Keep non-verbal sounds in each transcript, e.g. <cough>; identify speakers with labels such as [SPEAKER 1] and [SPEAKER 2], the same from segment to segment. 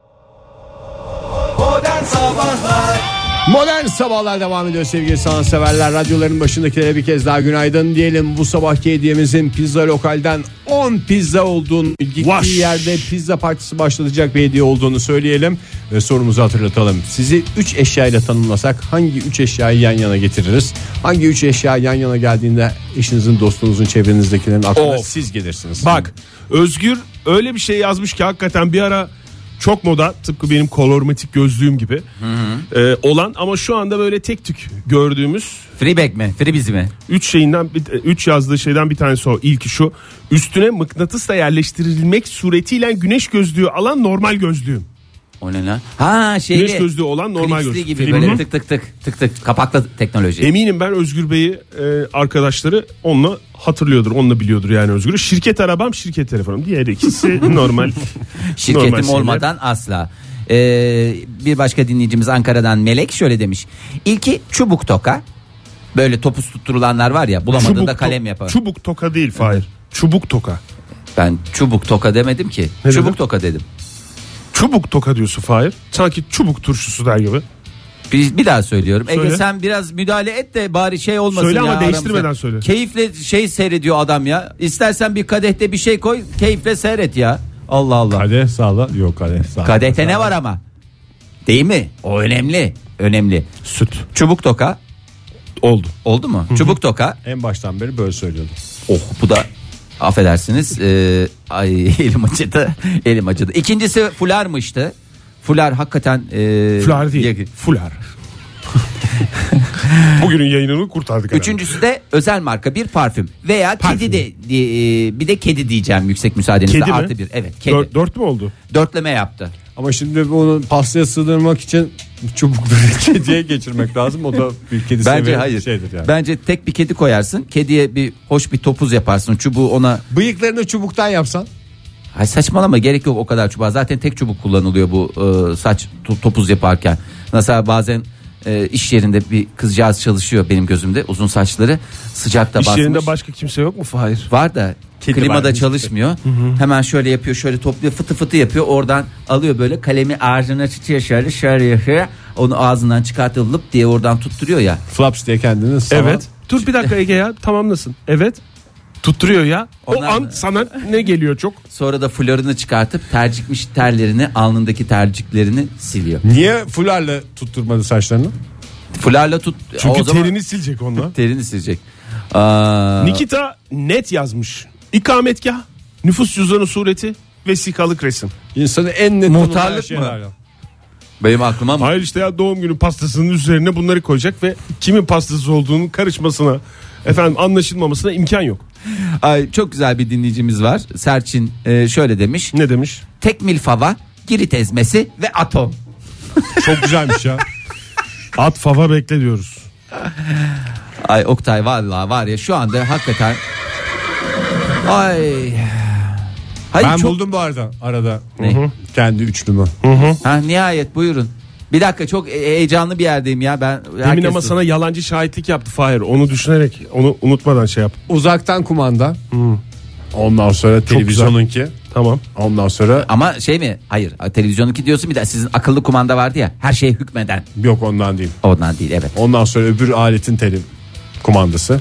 [SPEAKER 1] Oh,
[SPEAKER 2] Modern Sabahlar
[SPEAKER 3] Modern sabahlar devam ediyor sevgili sanatseverler. Radyoların başındakilere bir kez daha günaydın diyelim. Bu sabahki hediyemizin pizza lokalden 10 pizza olduğunu, gittiği
[SPEAKER 4] Vaş.
[SPEAKER 3] yerde pizza partisi başlatacak bir hediye olduğunu söyleyelim. Ve sorumuzu hatırlatalım. Sizi 3 eşyayla tanımlasak hangi 3 eşyayı yan yana getiririz? Hangi 3 eşya yan yana geldiğinde eşinizin, dostunuzun, çevrenizdekilerin aklına
[SPEAKER 4] Of.
[SPEAKER 3] siz gelirsiniz.
[SPEAKER 4] Bak Özgür öyle bir şey yazmış ki hakikaten bir ara çok moda tıpkı benim kolormatik gözlüğüm gibi e, olan ama şu anda böyle tek tük gördüğümüz
[SPEAKER 5] Freeback mi? Freebiz mi?
[SPEAKER 4] üç şeyinden bir- e, üç yazdığı şeyden bir tanesi o. İlki şu üstüne mıknatısla yerleştirilmek suretiyle güneş gözlüğü alan normal gözlüğüm.
[SPEAKER 5] O ne lan? Ha şeyli.
[SPEAKER 4] Güneş gözlüğü olan normal
[SPEAKER 5] Klipsli
[SPEAKER 4] gözlük.
[SPEAKER 5] gibi
[SPEAKER 4] Film.
[SPEAKER 5] böyle
[SPEAKER 4] Hı hı.
[SPEAKER 5] tık tık tık tık tık kapaklı teknoloji.
[SPEAKER 4] Eminim ben Özgür Bey'i e, arkadaşları onunla hatırlıyordur, onunla biliyordur yani Özgür'ü. Şirket arabam, şirket telefonum. Diğer
[SPEAKER 5] <laughs>
[SPEAKER 4] ikisi normal.
[SPEAKER 5] Şirketim
[SPEAKER 4] normal şeyler.
[SPEAKER 5] olmadan asla. Ee, bir başka dinleyicimiz Ankara'dan Melek şöyle demiş. İlki çubuk toka. Böyle topuz tutturulanlar var ya bulamadığında
[SPEAKER 4] to-
[SPEAKER 5] kalem yapar.
[SPEAKER 4] Çubuk toka değil Fahir. Çubuk toka.
[SPEAKER 5] ben çubuk toka demedim ki.
[SPEAKER 4] Ne
[SPEAKER 5] çubuk
[SPEAKER 4] dedin?
[SPEAKER 5] toka dedim.
[SPEAKER 4] Çubuk toka diyorsun Fahir. Sanki çubuk turşusu der gibi.
[SPEAKER 5] Bir, bir daha söylüyorum. Ege
[SPEAKER 4] Söyle.
[SPEAKER 5] sen biraz müdahale et de bari şey olmasın
[SPEAKER 4] Söyle
[SPEAKER 5] ya.
[SPEAKER 4] ama
[SPEAKER 5] aramızda.
[SPEAKER 4] değiştirmeden söyle.
[SPEAKER 5] Keyifle şey seyrediyor adam ya. İstersen bir kadehte bir şey koy keyifle seyret ya. Allah Allah.
[SPEAKER 3] Kadeh sağla. Yok kadeh sağla.
[SPEAKER 5] Kadehte ne var ama? Değil mi? O önemli. Önemli.
[SPEAKER 4] Süt.
[SPEAKER 5] Çubuk toka
[SPEAKER 4] Oldu.
[SPEAKER 5] oldu mu? Çubuk toka.
[SPEAKER 3] En baştan beri böyle söylüyordum.
[SPEAKER 5] Oh bu da affedersiniz. Ee, ay <laughs> elim acıdı. Elim acıdı. İkincisi fularmıştı. Fular hakikaten ee,
[SPEAKER 4] Fular değil.
[SPEAKER 5] yakın. <laughs>
[SPEAKER 4] Fular. Bugünün yayınını kurtardık. herhalde.
[SPEAKER 5] Üçüncüsü de özel marka bir parfüm veya kedi de di- e, bir de kedi diyeceğim yüksek müsaadenizle
[SPEAKER 4] Kedi mi?
[SPEAKER 5] artı bir. Evet kedi.
[SPEAKER 4] Dört, dört mü oldu?
[SPEAKER 5] Dörtleme yaptı.
[SPEAKER 3] Ama şimdi onu pastaya sığdırmak için <laughs> çubukları kediye geçirmek lazım. O da bir kedi
[SPEAKER 5] Bence
[SPEAKER 3] seviyen
[SPEAKER 5] hayır.
[SPEAKER 3] şeydir yani.
[SPEAKER 5] Bence tek bir kedi koyarsın. Kediye bir hoş bir topuz yaparsın. Çubuğu ona
[SPEAKER 3] Bıyıklarını çubuktan yapsan.
[SPEAKER 5] Ay saçmalama gerek yok o kadar çubuğa. Zaten tek çubuk kullanılıyor bu e, saç to- topuz yaparken. Mesela bazen e, iş yerinde bir kızcağız çalışıyor benim gözümde. Uzun saçları sıcakta
[SPEAKER 4] İş
[SPEAKER 5] basmış.
[SPEAKER 4] yerinde başka kimse yok mu Fahir?
[SPEAKER 5] var da
[SPEAKER 4] Kedi
[SPEAKER 5] klimada
[SPEAKER 4] var.
[SPEAKER 5] çalışmıyor. Hemen şöyle yapıyor, şöyle topluyor, fıtı fıtı yapıyor. Oradan alıyor böyle kalemi ağzına tutuyor şöyle şöyle yapıyor. Onu ağzından çıkartıp lıp diye oradan tutturuyor ya.
[SPEAKER 3] Flaps diye kendini salan.
[SPEAKER 4] Evet. Dur bir dakika Ege ya tamamlasın. Evet. Tutturuyor ya. O
[SPEAKER 5] Onlar-
[SPEAKER 4] an sana ne geliyor çok?
[SPEAKER 5] Sonra da florunu çıkartıp tercikmiş terlerini, alnındaki terciklerini siliyor.
[SPEAKER 3] Niye fularla tutturmadı saçlarını?
[SPEAKER 5] Fularla tut.
[SPEAKER 4] Çünkü
[SPEAKER 5] o zaman-
[SPEAKER 4] terini silecek onunla.
[SPEAKER 5] Terini silecek. Aa,
[SPEAKER 4] <laughs> Nikita net yazmış. İkametgah, nüfus cüzdanı sureti, vesikalık resim.
[SPEAKER 3] İnsanı en net
[SPEAKER 5] Muhtarlık
[SPEAKER 3] tanımlayan
[SPEAKER 5] mı?
[SPEAKER 3] şeyler.
[SPEAKER 5] benim aklıma mı?
[SPEAKER 4] Hayır işte ya doğum günü pastasının üzerine bunları koyacak ve kimin pastası olduğunun karışmasına efendim anlaşılmamasına imkan yok.
[SPEAKER 5] Ay, çok güzel bir dinleyicimiz var. Serçin e, şöyle demiş.
[SPEAKER 4] Ne demiş?
[SPEAKER 5] Tek milfava, girit ezmesi ve atom.
[SPEAKER 3] Çok güzelmiş
[SPEAKER 4] <laughs>
[SPEAKER 3] ya.
[SPEAKER 4] At fava bekle diyoruz.
[SPEAKER 5] Ay Oktay vallahi var ya şu anda hakikaten Ay. Hayır
[SPEAKER 3] ben
[SPEAKER 5] çok
[SPEAKER 3] buldum bu arada arada.
[SPEAKER 5] Ne?
[SPEAKER 3] Hı hı. Kendi üçlümü.
[SPEAKER 5] ha, nihayet buyurun. Bir dakika çok he- heyecanlı bir yerdeyim ya ben.
[SPEAKER 4] Demin
[SPEAKER 5] herkes-
[SPEAKER 4] ama sana yalancı şahitlik yaptı Fahir. Onu düşünerek onu unutmadan şey yap.
[SPEAKER 3] Uzaktan kumanda. Ondan sonra televizyonunki.
[SPEAKER 4] Tamam.
[SPEAKER 3] Ondan sonra
[SPEAKER 5] ama şey mi? Hayır. Televizyonunki diyorsun bir de sizin akıllı kumanda vardı ya. Her şeye hükmeden.
[SPEAKER 3] yok ondan değil.
[SPEAKER 5] Ondan değil evet.
[SPEAKER 3] Ondan sonra öbür aletin tele kumandası.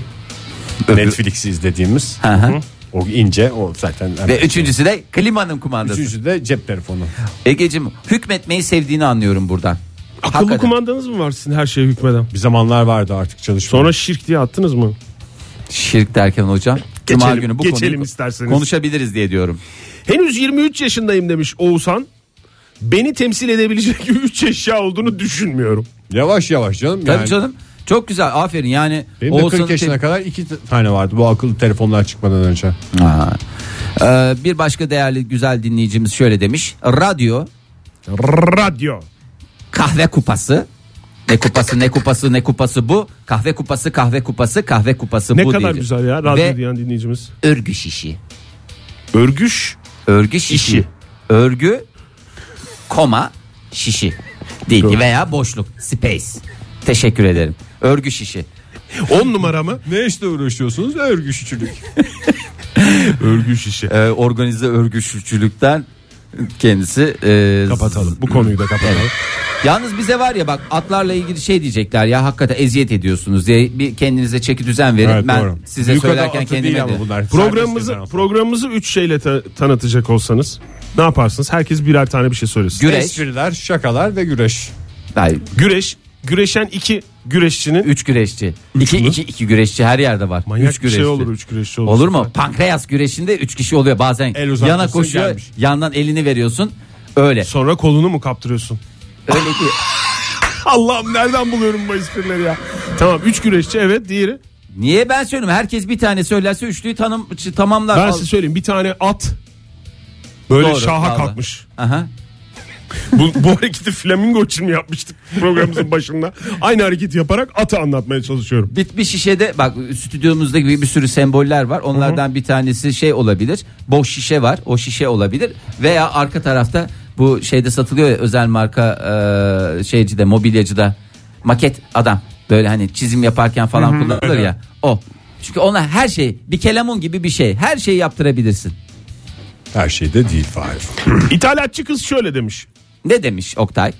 [SPEAKER 3] Netflix'i izlediğimiz.
[SPEAKER 5] Hı hı.
[SPEAKER 3] O ince o zaten.
[SPEAKER 5] Ve üçüncüsü de klimanın kumandası.
[SPEAKER 3] Üçüncü de cep telefonu.
[SPEAKER 5] Egeciğim hükmetmeyi sevdiğini anlıyorum buradan.
[SPEAKER 4] Akıllı
[SPEAKER 5] Hakikaten.
[SPEAKER 4] kumandanız mı var sizin her şeye hükmeden?
[SPEAKER 3] Bir zamanlar vardı artık çalışma.
[SPEAKER 4] Sonra şirk diye attınız mı?
[SPEAKER 5] Şirk derken hocam. Cuma
[SPEAKER 4] Geçelim,
[SPEAKER 5] günü bu
[SPEAKER 4] geçelim
[SPEAKER 5] konuyu
[SPEAKER 4] isterseniz.
[SPEAKER 5] konuşabiliriz diye diyorum.
[SPEAKER 4] Henüz 23 yaşındayım demiş Oğuzhan. Beni temsil edebilecek <laughs> 3 eşya olduğunu düşünmüyorum.
[SPEAKER 3] Yavaş yavaş canım.
[SPEAKER 5] Tabii
[SPEAKER 3] yani.
[SPEAKER 5] canım. Çok güzel. Aferin yani.
[SPEAKER 3] Benim de
[SPEAKER 5] Oğuzhan'ın
[SPEAKER 3] 40 yaşına
[SPEAKER 5] te-
[SPEAKER 3] kadar iki t- tane vardı bu akıllı telefonlar çıkmadan önce.
[SPEAKER 5] Aa. Ee, bir başka değerli güzel dinleyicimiz şöyle demiş. Radyo,
[SPEAKER 4] Radyo.
[SPEAKER 5] kahve kupası. Ne kupası ne kupası ne kupası bu. Kahve kupası kahve kupası kahve kupası
[SPEAKER 4] Ne
[SPEAKER 5] bu.
[SPEAKER 4] kadar
[SPEAKER 5] diyecek.
[SPEAKER 4] güzel ya radyo
[SPEAKER 5] Ve
[SPEAKER 4] diyen dinleyicimiz.
[SPEAKER 5] örgü şişi.
[SPEAKER 4] Örgüş.
[SPEAKER 5] Örgü şişi.
[SPEAKER 4] İşi.
[SPEAKER 5] Örgü koma şişi. Değil veya boşluk space. Teşekkür ederim. Örgü şişi.
[SPEAKER 4] 10 numara mı?
[SPEAKER 3] Ne işle uğraşıyorsunuz? Örgü şişçilik.
[SPEAKER 4] <laughs> Örgüş işi.
[SPEAKER 5] Ee, organize örgü şişçilikten kendisi e,
[SPEAKER 4] Kapatalım. Bu konuyu da kapatalım.
[SPEAKER 5] Yalnız bize var ya bak atlarla ilgili şey diyecekler ya hakikaten eziyet ediyorsunuz diye bir kendinize çeki düzen verin.
[SPEAKER 3] Evet,
[SPEAKER 5] ben
[SPEAKER 3] doğru.
[SPEAKER 5] size
[SPEAKER 3] Büyük adam
[SPEAKER 5] söylerken
[SPEAKER 3] atı
[SPEAKER 5] kendime
[SPEAKER 3] değil ama
[SPEAKER 5] de.
[SPEAKER 3] bunlar.
[SPEAKER 4] Programımızı
[SPEAKER 3] Serbest
[SPEAKER 4] programımızı 3 şeyle ta- tanıtacak olsanız ne yaparsınız? Herkes birer tane bir şey söylesin.
[SPEAKER 5] Güreş.
[SPEAKER 3] Espriler, şakalar ve güreş.
[SPEAKER 5] Hayır,
[SPEAKER 4] Güreş, güreşen iki güreşçinin
[SPEAKER 5] üç güreşçi. iki,
[SPEAKER 4] mü?
[SPEAKER 5] iki, iki güreşçi her yerde var.
[SPEAKER 4] manyak
[SPEAKER 5] üç
[SPEAKER 4] bir
[SPEAKER 5] güreşçi.
[SPEAKER 4] şey olur üç güreşçi olur.
[SPEAKER 5] Olur mu? Pankreas güreşinde üç kişi oluyor bazen.
[SPEAKER 3] El uzatmışsın,
[SPEAKER 5] yana koşuyor
[SPEAKER 3] gelmiş.
[SPEAKER 5] yandan elini veriyorsun. Öyle.
[SPEAKER 4] Sonra kolunu mu kaptırıyorsun?
[SPEAKER 5] Öyle ki
[SPEAKER 4] Allah'ım nereden buluyorum bu esprileri ya? Tamam üç güreşçi evet diğeri.
[SPEAKER 5] niye ben söylüyorum? Herkes bir tane söylerse üçlüyü tanım, tamamlar.
[SPEAKER 4] Ben
[SPEAKER 5] Al-
[SPEAKER 4] size söyleyeyim bir tane at böyle
[SPEAKER 5] Doğru,
[SPEAKER 4] şaha
[SPEAKER 5] vallahi.
[SPEAKER 4] kalkmış.
[SPEAKER 5] Aha.
[SPEAKER 4] Bu, bu hareketi flamingo için mi yapmıştık programımızın başında? Aynı hareketi yaparak atı anlatmaya çalışıyorum.
[SPEAKER 5] Bir, bir şişede bak stüdyomuzda gibi bir sürü semboller var. Onlardan bir tanesi şey olabilir. Boş şişe var. O şişe olabilir. Veya arka tarafta bu şeyde satılıyor ya özel marka e, şeycide mobilyacıda maket adam. Böyle hani çizim yaparken falan kullanılır ya. O. Çünkü ona her şey bir kelamun gibi bir şey. Her şeyi yaptırabilirsin.
[SPEAKER 3] Her şeyde değil Fahir.
[SPEAKER 4] İthalatçı kız şöyle demiş.
[SPEAKER 5] Ne demiş Oktay?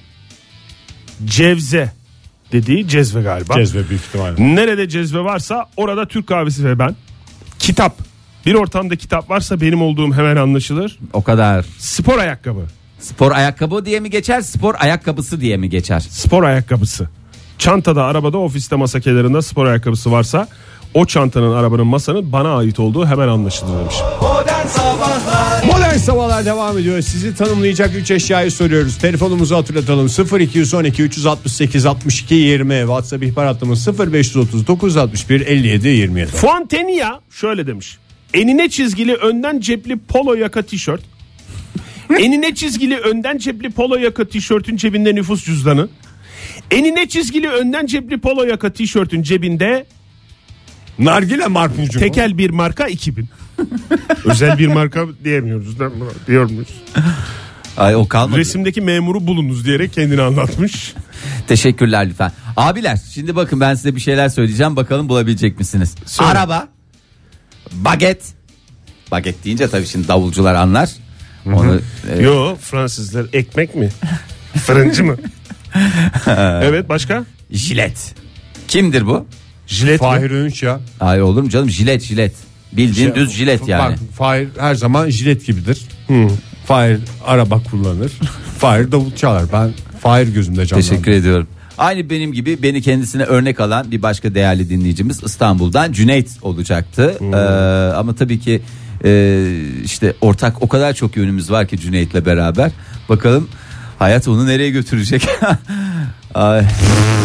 [SPEAKER 4] Cevze dediği cezve galiba.
[SPEAKER 3] Cezve büyük ihtimalle.
[SPEAKER 4] Nerede cezve varsa orada Türk kahvesi ve ben. Kitap. Bir ortamda kitap varsa benim olduğum hemen anlaşılır.
[SPEAKER 5] O kadar.
[SPEAKER 4] Spor ayakkabı.
[SPEAKER 5] Spor ayakkabı diye mi geçer? Spor ayakkabısı diye mi geçer?
[SPEAKER 4] Spor ayakkabısı. Çantada, arabada, ofiste masa kenarında spor ayakkabısı varsa o çantanın, arabanın, masanın bana ait olduğu hemen anlaşılır demiş.
[SPEAKER 1] Oh,
[SPEAKER 3] Modern Sabahlar devam ediyor. Sizi tanımlayacak 3 eşyayı soruyoruz. Telefonumuzu hatırlatalım. 0212 368 62 20 WhatsApp ihbar hattımız 0539 61 57 27.
[SPEAKER 4] Fontenia şöyle demiş. Enine çizgili önden cepli polo yaka tişört. Enine çizgili önden cepli polo yaka tişörtün cebinde nüfus cüzdanı. Enine çizgili önden cepli polo yaka tişörtün cebinde
[SPEAKER 3] Nargile marpulcu mu?
[SPEAKER 4] tekel bir marka 2000. <laughs> Özel bir marka diyemiyoruz değil mi? Diyor muyuz?
[SPEAKER 5] Ay o kalmadı.
[SPEAKER 4] Resimdeki memuru bulunuz diyerek kendini anlatmış.
[SPEAKER 5] Teşekkürler lütfen. Abiler şimdi bakın ben size bir şeyler söyleyeceğim. Bakalım bulabilecek misiniz?
[SPEAKER 4] Söyle.
[SPEAKER 5] Araba, baget. Baget deyince tabii şimdi davulcular anlar. Onu e,
[SPEAKER 4] Yo Fransızlar ekmek mi? Fırıncı <laughs> mı? evet başka?
[SPEAKER 5] jilet. Kimdir bu?
[SPEAKER 4] Jilet mi?
[SPEAKER 3] Fahir Önç ya.
[SPEAKER 5] Hayır olur mu canım? Jilet jilet. Bildiğin
[SPEAKER 3] Şey,
[SPEAKER 5] düz jilet yani.
[SPEAKER 3] Bak, Fahir her zaman jilet gibidir. Fahir araba kullanır. Fahir davul çalar. Ben Fahir gözümde canlandı.
[SPEAKER 5] Teşekkür ediyorum. Aynı benim gibi beni kendisine örnek alan bir başka değerli dinleyicimiz İstanbul'dan Cüneyt olacaktı. Ee, ama tabii ki e, işte ortak o kadar çok yönümüz var ki Cüneyt'le beraber. Bakalım hayat onu nereye götürecek? <laughs> Ay,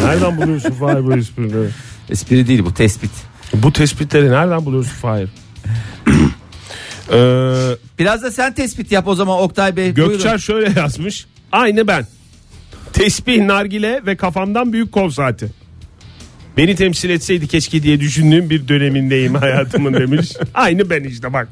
[SPEAKER 4] Nereden buluyorsun Fahir bu esprileri?
[SPEAKER 5] espri değil bu tespit.
[SPEAKER 4] Bu tespitleri nereden buluyorsun Fahir? <clears throat> ee,
[SPEAKER 5] Biraz da sen tespit yap o zaman Oktay Bey.
[SPEAKER 4] Gökçer
[SPEAKER 5] Buyurun.
[SPEAKER 4] şöyle yazmış. Aynı ben. Tesbih, nargile ve kafamdan büyük kol saati. Beni temsil etseydi keşke diye düşündüğüm bir dönemindeyim hayatımın demiş. Aynı ben işte bak.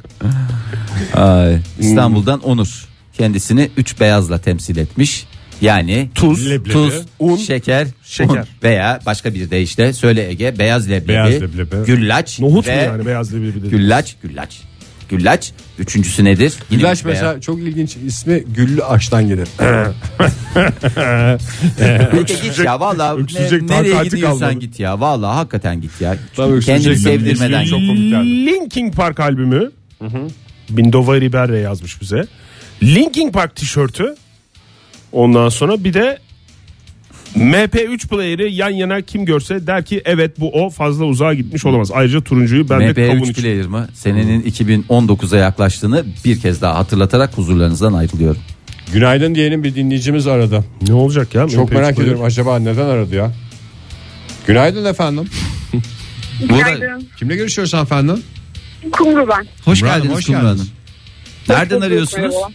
[SPEAKER 5] Ay, Ee,
[SPEAKER 4] Hmm.
[SPEAKER 5] İstanbul'dan Onur kendisini üç beyazla temsil etmiş. Yani
[SPEAKER 4] Tuz,
[SPEAKER 3] Leblebi,
[SPEAKER 5] tuz,
[SPEAKER 4] un,
[SPEAKER 5] şeker,
[SPEAKER 4] şeker.
[SPEAKER 5] un veya başka bir de işte söyle Ege beyaz leblebi,
[SPEAKER 3] Beyaz leblebi.
[SPEAKER 5] güllaç
[SPEAKER 4] Nohut
[SPEAKER 5] ve
[SPEAKER 4] mu yani beyaz leblebi dedi.
[SPEAKER 5] güllaç, güllaç. Güllaç üçüncüsü nedir? Yine
[SPEAKER 3] Güllaç
[SPEAKER 5] üç beyaz.
[SPEAKER 3] mesela çok ilginç ismi Güllü Aş'tan gelir.
[SPEAKER 5] Peki git ya valla
[SPEAKER 4] öksürecek
[SPEAKER 5] nereye
[SPEAKER 4] takati
[SPEAKER 5] gidiyorsan
[SPEAKER 4] kalmadı.
[SPEAKER 5] git ya valla hakikaten git ya.
[SPEAKER 3] Tabii öksürecek
[SPEAKER 5] Kendini
[SPEAKER 3] de bir
[SPEAKER 5] sevdirmeden git.
[SPEAKER 3] şey yok. komik geldi.
[SPEAKER 4] Linkin Park albümü. Bindova Riberre yazmış bize. Linkin Park tişörtü. Ondan sonra bir de MP3 player'i yan yana kim görse der ki evet bu o fazla uzağa gitmiş olamaz. Ayrıca turuncuyu ben de kavun
[SPEAKER 5] MP3
[SPEAKER 4] için.
[SPEAKER 5] player mı? Senenin 2019'a yaklaştığını bir kez daha hatırlatarak huzurlarınızdan ayrılıyorum.
[SPEAKER 3] Günaydın diyelim bir dinleyicimiz aradı.
[SPEAKER 4] Ne olacak ya?
[SPEAKER 3] Çok
[SPEAKER 4] MP3
[SPEAKER 3] merak
[SPEAKER 4] player.
[SPEAKER 3] ediyorum acaba neden aradı ya? Günaydın efendim.
[SPEAKER 2] Günaydın.
[SPEAKER 3] Kimle görüşüyoruz efendim?
[SPEAKER 2] Kumru ben.
[SPEAKER 5] Hoş
[SPEAKER 3] Kumru Hanım,
[SPEAKER 5] geldiniz
[SPEAKER 3] hoş
[SPEAKER 5] Kumru
[SPEAKER 3] geldiniz.
[SPEAKER 5] Hanım. Nereden
[SPEAKER 2] Çok
[SPEAKER 5] arıyorsunuz?
[SPEAKER 2] merhaba.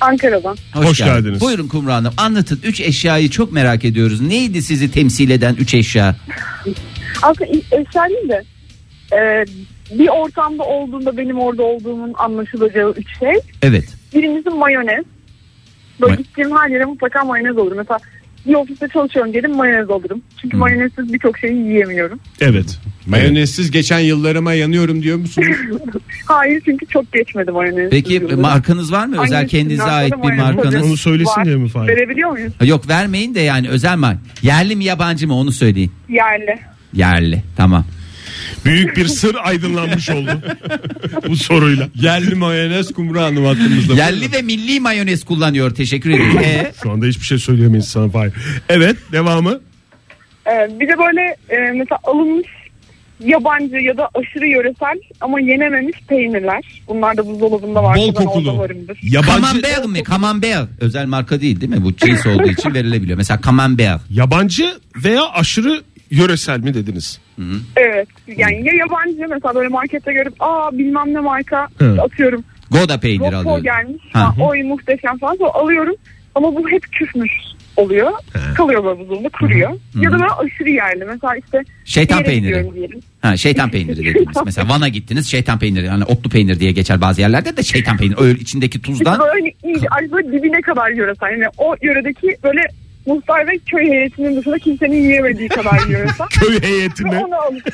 [SPEAKER 2] Ankara'dan.
[SPEAKER 4] Hoş geldiniz.
[SPEAKER 5] Buyurun Kumru Hanım anlatın. Üç eşyayı çok merak ediyoruz. Neydi sizi temsil eden üç eşya?
[SPEAKER 2] Aslında ilk eşya değil de e, bir ortamda olduğunda benim orada olduğumun anlaşılacağı üç şey.
[SPEAKER 5] Evet.
[SPEAKER 2] Birincisi mayonez. Böyle
[SPEAKER 5] May-
[SPEAKER 2] gittiğim her yere mutlaka mayonez olur. Mesela bir ofiste çalışıyorum dedim mayonez alırım. Çünkü
[SPEAKER 5] Hmm.
[SPEAKER 2] mayonezsiz birçok şeyi yiyemiyorum. <laughs>
[SPEAKER 4] Evet.
[SPEAKER 3] Mayonezsiz geçen yıllarıma yanıyorum diyor musunuz?
[SPEAKER 2] Hayır çünkü çok geçmedi mayonez.
[SPEAKER 5] Peki markanız var mı? Özel
[SPEAKER 2] Hangisi?
[SPEAKER 5] kendinize
[SPEAKER 2] Markalı
[SPEAKER 5] ait bir
[SPEAKER 2] mayonez.
[SPEAKER 4] Onu
[SPEAKER 5] markanız?
[SPEAKER 4] söylesin diye mi Fahir?
[SPEAKER 2] Verebiliyor muyuz?
[SPEAKER 5] Ha, Yok vermeyin de yani özel marka. Yerli mi yabancı mı onu söyleyin.
[SPEAKER 2] Yerli.
[SPEAKER 5] Yerli tamam.
[SPEAKER 4] Büyük bir sır aydınlanmış oldu
[SPEAKER 3] <laughs>
[SPEAKER 4] bu soruyla.
[SPEAKER 3] Yerli mayonez Kumru Hanım hattımızda.
[SPEAKER 5] Yerli ve milli mayonez kullanıyor teşekkür ederim. Ee,
[SPEAKER 4] Şu anda hiçbir şey söyleyemeyiz sana Fahir. Evet devamı.
[SPEAKER 2] Ee, bir de böyle e, mesela alınmış yabancı ya da aşırı yöresel ama yenememiş peynirler. Bunlar da buzdolabında var.
[SPEAKER 3] Bol
[SPEAKER 2] Ben orada
[SPEAKER 3] kokulu.
[SPEAKER 2] varımdır.
[SPEAKER 4] Yabancı,
[SPEAKER 5] Camembert mi? Camembert. Özel marka değil değil mi? Bu cins olduğu için verilebiliyor. Mesela Camembert.
[SPEAKER 4] yabancı veya aşırı yöresel mi dediniz?
[SPEAKER 2] Evet. Yani ya yabancı mesela böyle markette görüp aa bilmem ne marka
[SPEAKER 4] Hı.
[SPEAKER 2] atıyorum.
[SPEAKER 5] Goda peyniri
[SPEAKER 2] Rocco
[SPEAKER 5] alıyorum.
[SPEAKER 2] gelmiş.
[SPEAKER 5] Ha.
[SPEAKER 2] Ha, oy muhteşem falan. Sonra alıyorum. Ama bu hep küfmüş oluyor. Kalıyor böyle buzdolabında kuruyor. Ya da böyle aşırı yerli. Mesela işte
[SPEAKER 5] Şeytan
[SPEAKER 2] bir yere
[SPEAKER 5] peyniri.
[SPEAKER 2] gidiyorum diyelim.
[SPEAKER 5] Ha, şeytan peyniri dediniz. Mesela Van'a gittiniz şeytan peyniri. Yani otlu peynir diye geçer bazı yerlerde de şeytan peyniri. Öyle içindeki
[SPEAKER 2] İşte <laughs>
[SPEAKER 5] tuzdan.
[SPEAKER 2] böyle iyice ay böyle dibine kadar yöresel. Yani o yöredeki böyle muhtar ve köy heyetinin dışında kimsenin
[SPEAKER 4] <laughs>
[SPEAKER 2] yiyemediği kadar yöresel.
[SPEAKER 4] Köy heyeti
[SPEAKER 2] Ve <laughs>
[SPEAKER 4] mi?
[SPEAKER 2] onu alıp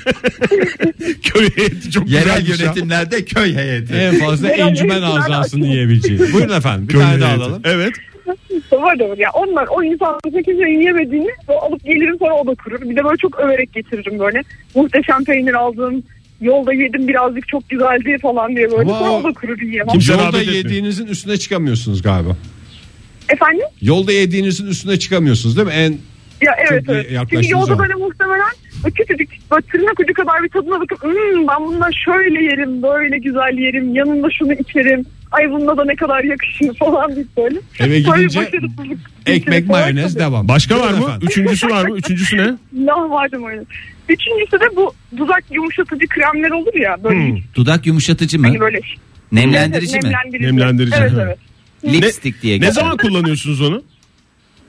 [SPEAKER 4] Köy heyeti çok
[SPEAKER 1] Yerel
[SPEAKER 4] güzelmiş ya.
[SPEAKER 1] yönetimlerde köy heyeti.
[SPEAKER 3] <laughs> En fazla
[SPEAKER 2] Yerel
[SPEAKER 3] encümen
[SPEAKER 2] yönetimler
[SPEAKER 3] azasını
[SPEAKER 2] açıyor.
[SPEAKER 3] yiyebileceğiz. <laughs> Buyurun efendim bir
[SPEAKER 4] Köy
[SPEAKER 3] tane daha
[SPEAKER 4] heyeti.
[SPEAKER 3] alalım.
[SPEAKER 4] Evet.
[SPEAKER 2] var da var. ya onlar o insanın kimsenin yiyemediğini böyle alıp gelirim sonra o da kurur. Bir de böyle çok överek getiririm böyle. Muhteşem peynir aldım. Yolda yedim birazcık çok güzeldi falan diye böyle.
[SPEAKER 3] Ama
[SPEAKER 2] Sonra
[SPEAKER 3] o-
[SPEAKER 2] o da kurur yiyemem.
[SPEAKER 4] Kimse
[SPEAKER 3] Yolda
[SPEAKER 4] rağbet etmiyor.
[SPEAKER 3] yediğinizin üstüne çıkamıyorsunuz galiba.
[SPEAKER 2] Efendim?
[SPEAKER 3] Yolda yediğinizin üstüne çıkamıyorsunuz değil mi? En
[SPEAKER 2] Ya evet
[SPEAKER 3] Çok
[SPEAKER 2] evet. Çünkü
[SPEAKER 3] yaklaştığı
[SPEAKER 2] yolda
[SPEAKER 3] zaman.
[SPEAKER 2] böyle muhtemelen o küçücük böyle tırnak ucu kadar bir tadına bakıp "Hmm, ben bununla şöyle yerim böyle güzel yerim yanında şunu içerim. Ay bunda da ne kadar yakışır <laughs> falan deyip böyle.
[SPEAKER 3] Eve
[SPEAKER 2] Sonra
[SPEAKER 3] gidince
[SPEAKER 2] başarısızlık
[SPEAKER 3] ekmek
[SPEAKER 2] içerisinde
[SPEAKER 3] mayonez devam.
[SPEAKER 4] Başka var
[SPEAKER 3] Buyurun
[SPEAKER 4] mı?
[SPEAKER 3] efendim.
[SPEAKER 4] Üçüncüsü var mı?
[SPEAKER 3] <laughs>
[SPEAKER 4] Üçüncüsü ne?
[SPEAKER 2] Lahmacun mayonez. Üçüncüsü de bu dudak yumuşatıcı kremler olur ya böyle
[SPEAKER 4] Hmm.
[SPEAKER 5] Dudak yumuşatıcı mı?
[SPEAKER 2] hani böyle
[SPEAKER 5] Nemlendirici mi?
[SPEAKER 2] Nemlendirici.
[SPEAKER 4] Nemlendirici,
[SPEAKER 2] Evet
[SPEAKER 4] hı.
[SPEAKER 2] evet.
[SPEAKER 5] Lipstick diye geçer.
[SPEAKER 4] Ne zaman kullanıyorsunuz onu?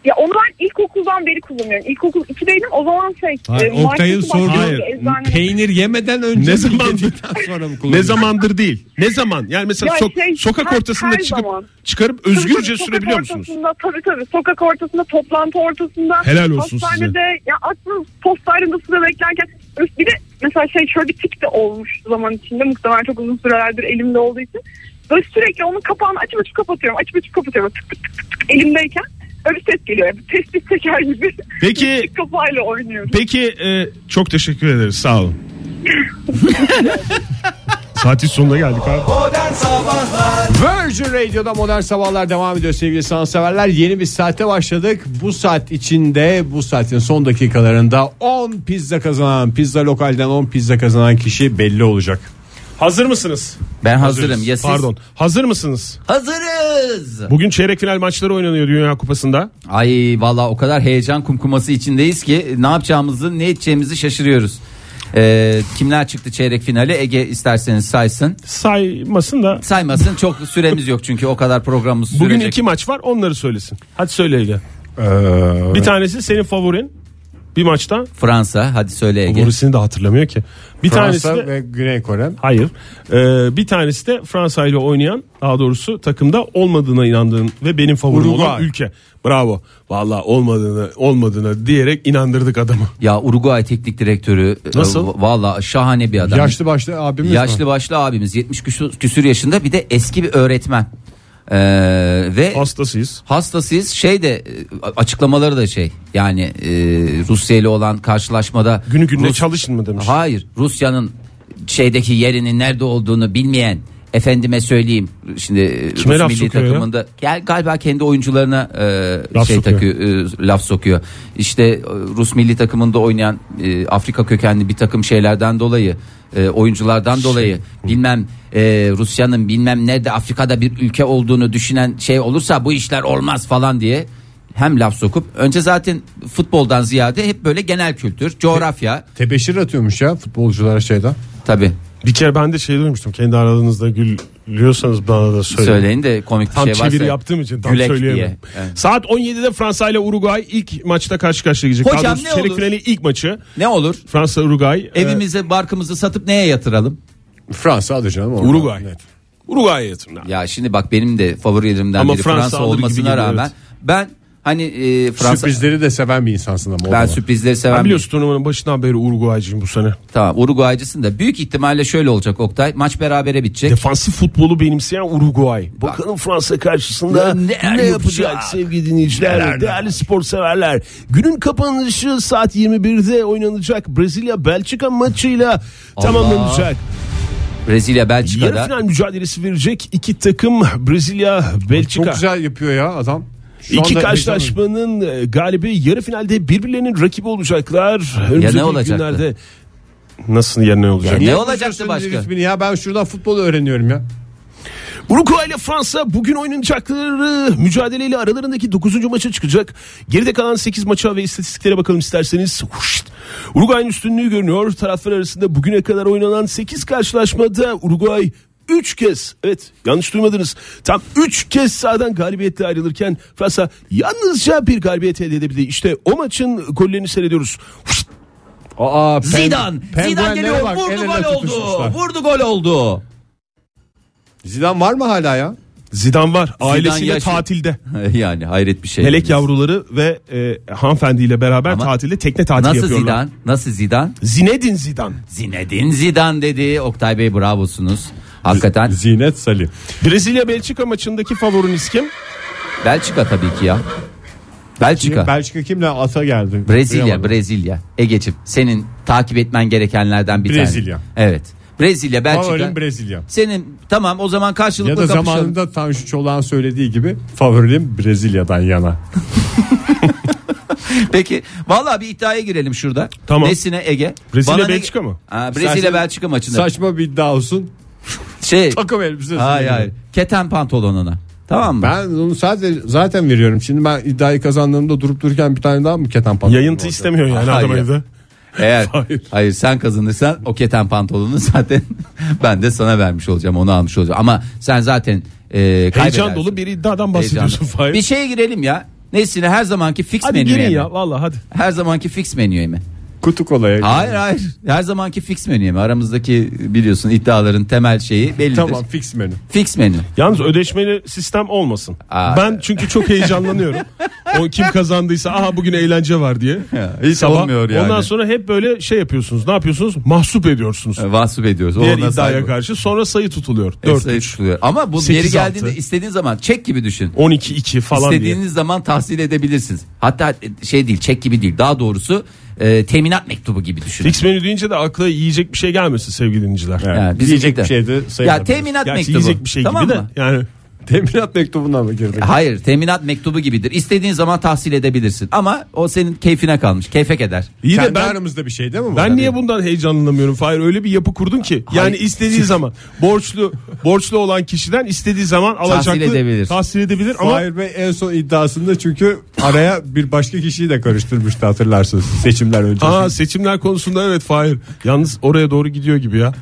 [SPEAKER 2] Ya onu ben ilkokuldan beri kullanıyorum. İlkokul 2'deydim o zaman şey.
[SPEAKER 3] Hayır,
[SPEAKER 2] e,
[SPEAKER 3] Oktay'ın
[SPEAKER 2] marketi
[SPEAKER 3] sorduğu
[SPEAKER 2] başlıyordu,
[SPEAKER 4] Hayır,
[SPEAKER 2] eczanede.
[SPEAKER 3] Peynir yemeden önce
[SPEAKER 4] Ne zaman-
[SPEAKER 3] yedikten sonra mı
[SPEAKER 4] Ne
[SPEAKER 3] kullanıyorsunuz?
[SPEAKER 4] zamandır değil. Ne zaman? Yani mesela
[SPEAKER 2] Ya
[SPEAKER 4] sok-
[SPEAKER 2] şey,
[SPEAKER 4] sokak
[SPEAKER 2] her-
[SPEAKER 4] ortasında
[SPEAKER 2] her
[SPEAKER 4] çıkıp
[SPEAKER 2] zaman.
[SPEAKER 4] çıkarıp
[SPEAKER 2] Tabii
[SPEAKER 4] özgürce
[SPEAKER 2] tabii,
[SPEAKER 4] sürebiliyor
[SPEAKER 2] sokak
[SPEAKER 4] musunuz?
[SPEAKER 2] Ortasında, tabii tabii sokak ortasında toplantı ortasında.
[SPEAKER 4] Helal olsun
[SPEAKER 2] hastanede, ya aslında postalarında sıra beklerken. Öf, bir de mesela şey şöyle bir tik de olmuş zaman içinde muhtemelen çok uzun sürelerdir elimde olduğu için. Böyle sürekli onun kapağını açıp açıp kapatıyorum açıp açıp kapatıyorum tık tık tık tık, tık elimdeyken. Öyle bir ses geliyor. Yani Testis teker gibi.
[SPEAKER 4] Peki-
[SPEAKER 2] Kafayla oynuyorum.
[SPEAKER 4] Peki e, çok teşekkür ederiz sağ
[SPEAKER 2] <laughs>
[SPEAKER 4] olun. Saatin sonuna geldik abi.
[SPEAKER 1] Modern Sabahlar
[SPEAKER 3] Virgin Radio'da modern sabahlar devam ediyor sevgili sanatseverler. Yeni bir saate başladık. Bu saat içinde bu saatin son dakikalarında 10 pizza kazanan, pizza lokalden 10 pizza kazanan kişi belli olacak.
[SPEAKER 4] Hazır mısınız?
[SPEAKER 5] Ben hazırım. Ya siz?
[SPEAKER 4] Pardon. Hazır mısınız?
[SPEAKER 5] Hazırız.
[SPEAKER 4] Bugün çeyrek final maçları oynanıyor Dünya Kupası'nda.
[SPEAKER 5] Ay valla o kadar heyecan kumkuması içindeyiz ki ne yapacağımızı ne edeceğimizi şaşırıyoruz. Ee, kimler çıktı çeyrek finale Ege isterseniz saysın.
[SPEAKER 4] Saymasın da.
[SPEAKER 5] Saymasın çok süremiz yok çünkü o kadar programımız sürecek.
[SPEAKER 4] Bugün iki maç var onları söylesin. Hadi söyle Ege.
[SPEAKER 3] Ee,
[SPEAKER 4] Bir tanesi senin favorin. Bir maçta.
[SPEAKER 5] Fransa hadi söyle Ege.
[SPEAKER 4] Favorisini de hatırlamıyor ki. Bir tanesi
[SPEAKER 3] Fransa
[SPEAKER 4] de
[SPEAKER 3] ve Güney Kore.
[SPEAKER 4] Hayır. Ee, bir tanesi de Fransa ile oynayan daha doğrusu takımda olmadığına inandığın ve benim favorim olan
[SPEAKER 3] Uruguay.
[SPEAKER 4] ülke. Bravo. Valla olmadığını olmadığını diyerek inandırdık
[SPEAKER 5] <laughs>
[SPEAKER 4] adamı.
[SPEAKER 5] Ya Uruguay teknik direktörü e,
[SPEAKER 4] Nasıl?
[SPEAKER 5] valla şahane bir adam.
[SPEAKER 3] Yaşlı başlı abimiz
[SPEAKER 5] Yaşlı
[SPEAKER 3] mi?
[SPEAKER 5] başlı abimiz 70 küsür, küsür yaşında bir de eski bir öğretmen. Ee, ve
[SPEAKER 4] Hastasıyız.
[SPEAKER 5] hastasıyız şey de e, açıklamaları da şey yani e, Rusya ile olan karşılaşmada
[SPEAKER 4] Günü gününe
[SPEAKER 5] Rus-
[SPEAKER 4] çalışın mı demiş.
[SPEAKER 5] Hayır Rusya'nın şeydeki yerinin nerede olduğunu bilmeyen efendime söyleyeyim şimdi e,
[SPEAKER 4] Kime
[SPEAKER 5] Rus
[SPEAKER 4] laf
[SPEAKER 5] milli
[SPEAKER 4] sokuyor ya?
[SPEAKER 5] takımında gel galiba kendi oyuncularına e,
[SPEAKER 4] Laf
[SPEAKER 5] şey
[SPEAKER 4] sokuyor.
[SPEAKER 5] takıyor e, laf sokuyor. İşte e, Rus milli takımında oynayan e, Afrika kökenli bir takım şeylerden dolayı e, oyunculardan
[SPEAKER 4] Şey,
[SPEAKER 5] dolayı bilmem e, Rusya'nın bilmem nerede Afrika'da bir ülke olduğunu düşünen şey olursa bu işler olmaz falan diye hem laf sokup önce zaten futboldan ziyade hep böyle genel kültür, coğrafya
[SPEAKER 3] Tebeşir atıyormuş ya futbolculara şeyden.
[SPEAKER 5] tabii
[SPEAKER 4] Bir kere ben de şey duymuştum. Kendi aranızda gülüyorsanız bana da söyleyin.
[SPEAKER 5] Söyleyin de komik bir
[SPEAKER 4] Tam
[SPEAKER 5] şey varsa.
[SPEAKER 4] çeviri yaptığım için tam
[SPEAKER 5] gülek
[SPEAKER 4] söyleyemem.
[SPEAKER 5] diye. Evet.
[SPEAKER 4] Saat 17'de Fransa ile Uruguay ilk maçta karşı karşıya gelecek.
[SPEAKER 5] Hocam
[SPEAKER 4] Daha doğrusu
[SPEAKER 5] ne
[SPEAKER 4] çeyrek
[SPEAKER 5] olur?
[SPEAKER 4] finali ilk maçı.
[SPEAKER 5] Ne olur?
[SPEAKER 4] Fransa Uruguay.
[SPEAKER 5] Evimize barkımızı satıp neye yatıralım?
[SPEAKER 3] Fransa adı canım. orada.
[SPEAKER 4] Uruguay.
[SPEAKER 3] Net.
[SPEAKER 4] Uruguay yatırımlar.
[SPEAKER 5] Ya şimdi bak benim de favorilerimden
[SPEAKER 4] Ama
[SPEAKER 5] biri
[SPEAKER 4] Fransa
[SPEAKER 5] Fransa
[SPEAKER 4] alır gibi
[SPEAKER 5] olmasına
[SPEAKER 4] geliyor,
[SPEAKER 5] rağmen ben Hani e, Fransa
[SPEAKER 3] Sürprizleri de seven bir insansın ama. o
[SPEAKER 5] ben
[SPEAKER 3] zaman.
[SPEAKER 5] sürprizleri
[SPEAKER 4] Ben
[SPEAKER 5] seven bir
[SPEAKER 4] biliyorsun turnuvanın başından beri Uruguaycıyım bu sene.
[SPEAKER 5] Tamam Uruguaycısın da büyük ihtimalle şöyle olacak Oktay. Maç berabere bitecek.
[SPEAKER 4] Defansif futbolu benimseyen Uruguay. Bakalım Fransa karşısında
[SPEAKER 5] Ya
[SPEAKER 4] ne,
[SPEAKER 5] ne- ne
[SPEAKER 4] yapacak
[SPEAKER 5] yapacak?
[SPEAKER 4] sevgili dinleyiciler, değerli spor severler. Günün kapanışı saat 21'de oynanacak Brezilya-Belçika maçıyla tamamlanacak.
[SPEAKER 5] Brezilya
[SPEAKER 4] Yarı
[SPEAKER 5] Belçika'da.
[SPEAKER 4] final mücadelesi verecek iki takım Brezilya-Belçika.
[SPEAKER 3] Çok güzel yapıyor ya adam. Şu
[SPEAKER 4] İki
[SPEAKER 3] anda-
[SPEAKER 4] karşılaşmanın e, galibi yarı finalde birbirlerinin rakibi olacaklar. Önümüzdeki
[SPEAKER 5] olacaktı?
[SPEAKER 4] günlerde nasıl ya ne olacak?
[SPEAKER 5] Ya
[SPEAKER 3] Niye
[SPEAKER 5] Ne olacaktı
[SPEAKER 3] bozuyorsun
[SPEAKER 5] başka?
[SPEAKER 3] ritmini Ya ben şuradan futbol öğreniyorum ya.
[SPEAKER 4] Uruguay ile Fransa bugün oynanacakları mücadeleyle aralarındaki 9. maça çıkacak. Geride kalan 8 maça ve istatistiklere bakalım isterseniz. Huşt. Uruguay'ın üstünlüğü görünüyor. Taraflar arasında bugüne kadar oynanan 8 karşılaşmada Uruguay 3 kez evet yanlış duymadınız tam 3 kez sahadan galibiyetle ayrılırken Fransa yalnızca bir galibiyet elde edebildi. İşte o maçın gollerini seyrediyoruz. Huşt.
[SPEAKER 3] Aa, pen-
[SPEAKER 5] Zidane. Zidane
[SPEAKER 3] penguenlere
[SPEAKER 5] geliyor.
[SPEAKER 3] bak, el
[SPEAKER 5] Vurdu
[SPEAKER 3] ele
[SPEAKER 5] gol oldu.
[SPEAKER 3] tutuşmuşlar.
[SPEAKER 5] Vurdu gol oldu. <laughs>
[SPEAKER 3] Zidane var mı hala ya?
[SPEAKER 4] Zidane var ailesiyle
[SPEAKER 5] yaşıyor.
[SPEAKER 4] tatilde.
[SPEAKER 5] yani hayret bir şey.
[SPEAKER 4] Melek yavruları ve e, hanımefendiyle beraber
[SPEAKER 5] Ama
[SPEAKER 4] tatilde tekne tatili
[SPEAKER 5] Nasıl
[SPEAKER 4] yapıyorlar.
[SPEAKER 5] Zidane? Nasıl Zidane?
[SPEAKER 4] Zinedine Zidane.
[SPEAKER 5] Zinedine Zidane dedi. Oktay Bey bravosunuz. Hakikaten
[SPEAKER 3] Zinet Salim.
[SPEAKER 4] Brezilya Belçika maçındaki favoriniz
[SPEAKER 5] <laughs>
[SPEAKER 4] kim?
[SPEAKER 5] Belçika tabii ki ya. Belçika.
[SPEAKER 3] Belçika kimle ata geldi?
[SPEAKER 5] Brezilya,
[SPEAKER 3] Bilemedim.
[SPEAKER 5] Brezilya. Egeciğim senin takip etmen gerekenlerden bir tanesi.
[SPEAKER 3] Brezilya.
[SPEAKER 5] Evet. Brezilya, Belçika.
[SPEAKER 3] Favorim Brezilya.
[SPEAKER 5] Senin tamam o zaman karşılıklı
[SPEAKER 3] Ya da
[SPEAKER 5] kapışalım.
[SPEAKER 3] zamanında Tanju Çolak'ın söylediği gibi favorim Brezilya'dan yana.
[SPEAKER 5] <laughs> Peki vallahi bir iddiaya girelim şurada.
[SPEAKER 4] Tamam.
[SPEAKER 5] Nesine Ege?
[SPEAKER 4] Brezilya,
[SPEAKER 5] Bana ne-
[SPEAKER 4] Belçika mı?
[SPEAKER 5] Ha, Brezilya
[SPEAKER 3] İstersen-
[SPEAKER 5] Belçika maçında.
[SPEAKER 3] Saçma bir iddia olsun.
[SPEAKER 5] şey.
[SPEAKER 3] Takım elbisesi.
[SPEAKER 5] Hayır hayır. Keten pantolonuna. Tamam mı?
[SPEAKER 3] Ben onu sadece zaten veriyorum. Şimdi ben iddiayı kazandığımda durup dururken bir tane daha mı keten pantolon?
[SPEAKER 4] Yayıntı
[SPEAKER 3] olacak?
[SPEAKER 4] istemiyor yani
[SPEAKER 5] Hayır.
[SPEAKER 4] adam evde.
[SPEAKER 5] Eğer
[SPEAKER 4] Hayır.
[SPEAKER 5] hayır. sen kazanırsan o keten pantolonunu zaten <laughs> ben de sana vermiş olacağım. Onu almış olacağım. Ama sen zaten e, kaybedersin.
[SPEAKER 4] Heyecan dolu bir iddiadan
[SPEAKER 5] Heyecanlı.
[SPEAKER 4] bahsediyorsun Fahir.
[SPEAKER 5] Bir şey şeye girelim ya. Nesine her zamanki fix
[SPEAKER 4] hadi
[SPEAKER 5] menüye
[SPEAKER 4] girin
[SPEAKER 5] mi?
[SPEAKER 4] ya valla hadi.
[SPEAKER 5] Her zamanki fix menüye mi?
[SPEAKER 3] Kutu kolaya.
[SPEAKER 5] Hayır hayır. Her zamanki fix menüye mi? Aramızdaki biliyorsun iddiaların temel şeyi bellidir.
[SPEAKER 3] Tamam fix menü.
[SPEAKER 5] Fix menü.
[SPEAKER 4] Yalnız ödeşmeli sistem olmasın.
[SPEAKER 5] Aa.
[SPEAKER 4] Ben çünkü çok heyecanlanıyorum. o kim kazandıysa aha bugün eğlence var diye.
[SPEAKER 5] Ya, <laughs> hiç olmuyor yani.
[SPEAKER 4] Ondan sonra hep böyle şey yapıyorsunuz. Ne yapıyorsunuz? Mahsup ediyorsunuz.
[SPEAKER 5] Ee, Vasıf ediyoruz.
[SPEAKER 4] Diğer
[SPEAKER 5] Ona
[SPEAKER 4] iddiaya
[SPEAKER 5] saygı-
[SPEAKER 4] karşı sonra sayı tutuluyor.
[SPEAKER 5] Evet, sayı
[SPEAKER 4] 4-3,
[SPEAKER 5] tutuluyor. Ama bu
[SPEAKER 4] Sekiz,
[SPEAKER 5] geri geldiğinde
[SPEAKER 4] altı.
[SPEAKER 5] istediğin zaman çek gibi düşün.
[SPEAKER 4] 12-2 falan
[SPEAKER 5] İstediğiniz zaman tahsil edebilirsiniz. Hatta şey değil çek gibi değil daha doğrusu e, teminat mektubu gibi
[SPEAKER 4] diye.
[SPEAKER 5] düşünün.
[SPEAKER 4] Fix menü deyince de akla yiyecek bir şey gelmesin sevgili dinleyiciler.
[SPEAKER 5] Yani bizim
[SPEAKER 3] Diyecek
[SPEAKER 5] de-
[SPEAKER 3] bir şey de
[SPEAKER 5] Ya
[SPEAKER 3] sayılabilir.
[SPEAKER 5] teminat
[SPEAKER 4] Gerçi
[SPEAKER 5] mektubu.
[SPEAKER 4] yiyecek bir şey
[SPEAKER 5] tamam
[SPEAKER 4] gibi de
[SPEAKER 5] mı?
[SPEAKER 4] yani
[SPEAKER 3] Teminat mektubuna mı girdik?
[SPEAKER 5] E, Hayır teminat mektubu gibidir. İstediğin zaman tahsil edebilirsin. Ama o senin keyfine kalmış. Keyfek eder.
[SPEAKER 4] iyi
[SPEAKER 3] Kendi
[SPEAKER 4] de ben
[SPEAKER 3] aramızda bir şey değil mi bu?
[SPEAKER 4] Ben niye bundan heyecanlanamıyorum Fahir? Öyle bir yapı kurdum ki. Yani
[SPEAKER 5] Hayır.
[SPEAKER 4] istediği zaman borçlu borçlu olan kişiden istediği zaman alacaklı
[SPEAKER 5] edebilir.
[SPEAKER 4] Tahsil edebilir ama
[SPEAKER 3] Fahir Bey en son iddiasında çünkü araya bir başka kişiyi de karıştırmıştı hatırlarsınız seçimler öncesi.
[SPEAKER 4] Aa seçimler konusunda evet Fahir. Yalnız oraya doğru gidiyor gibi ya.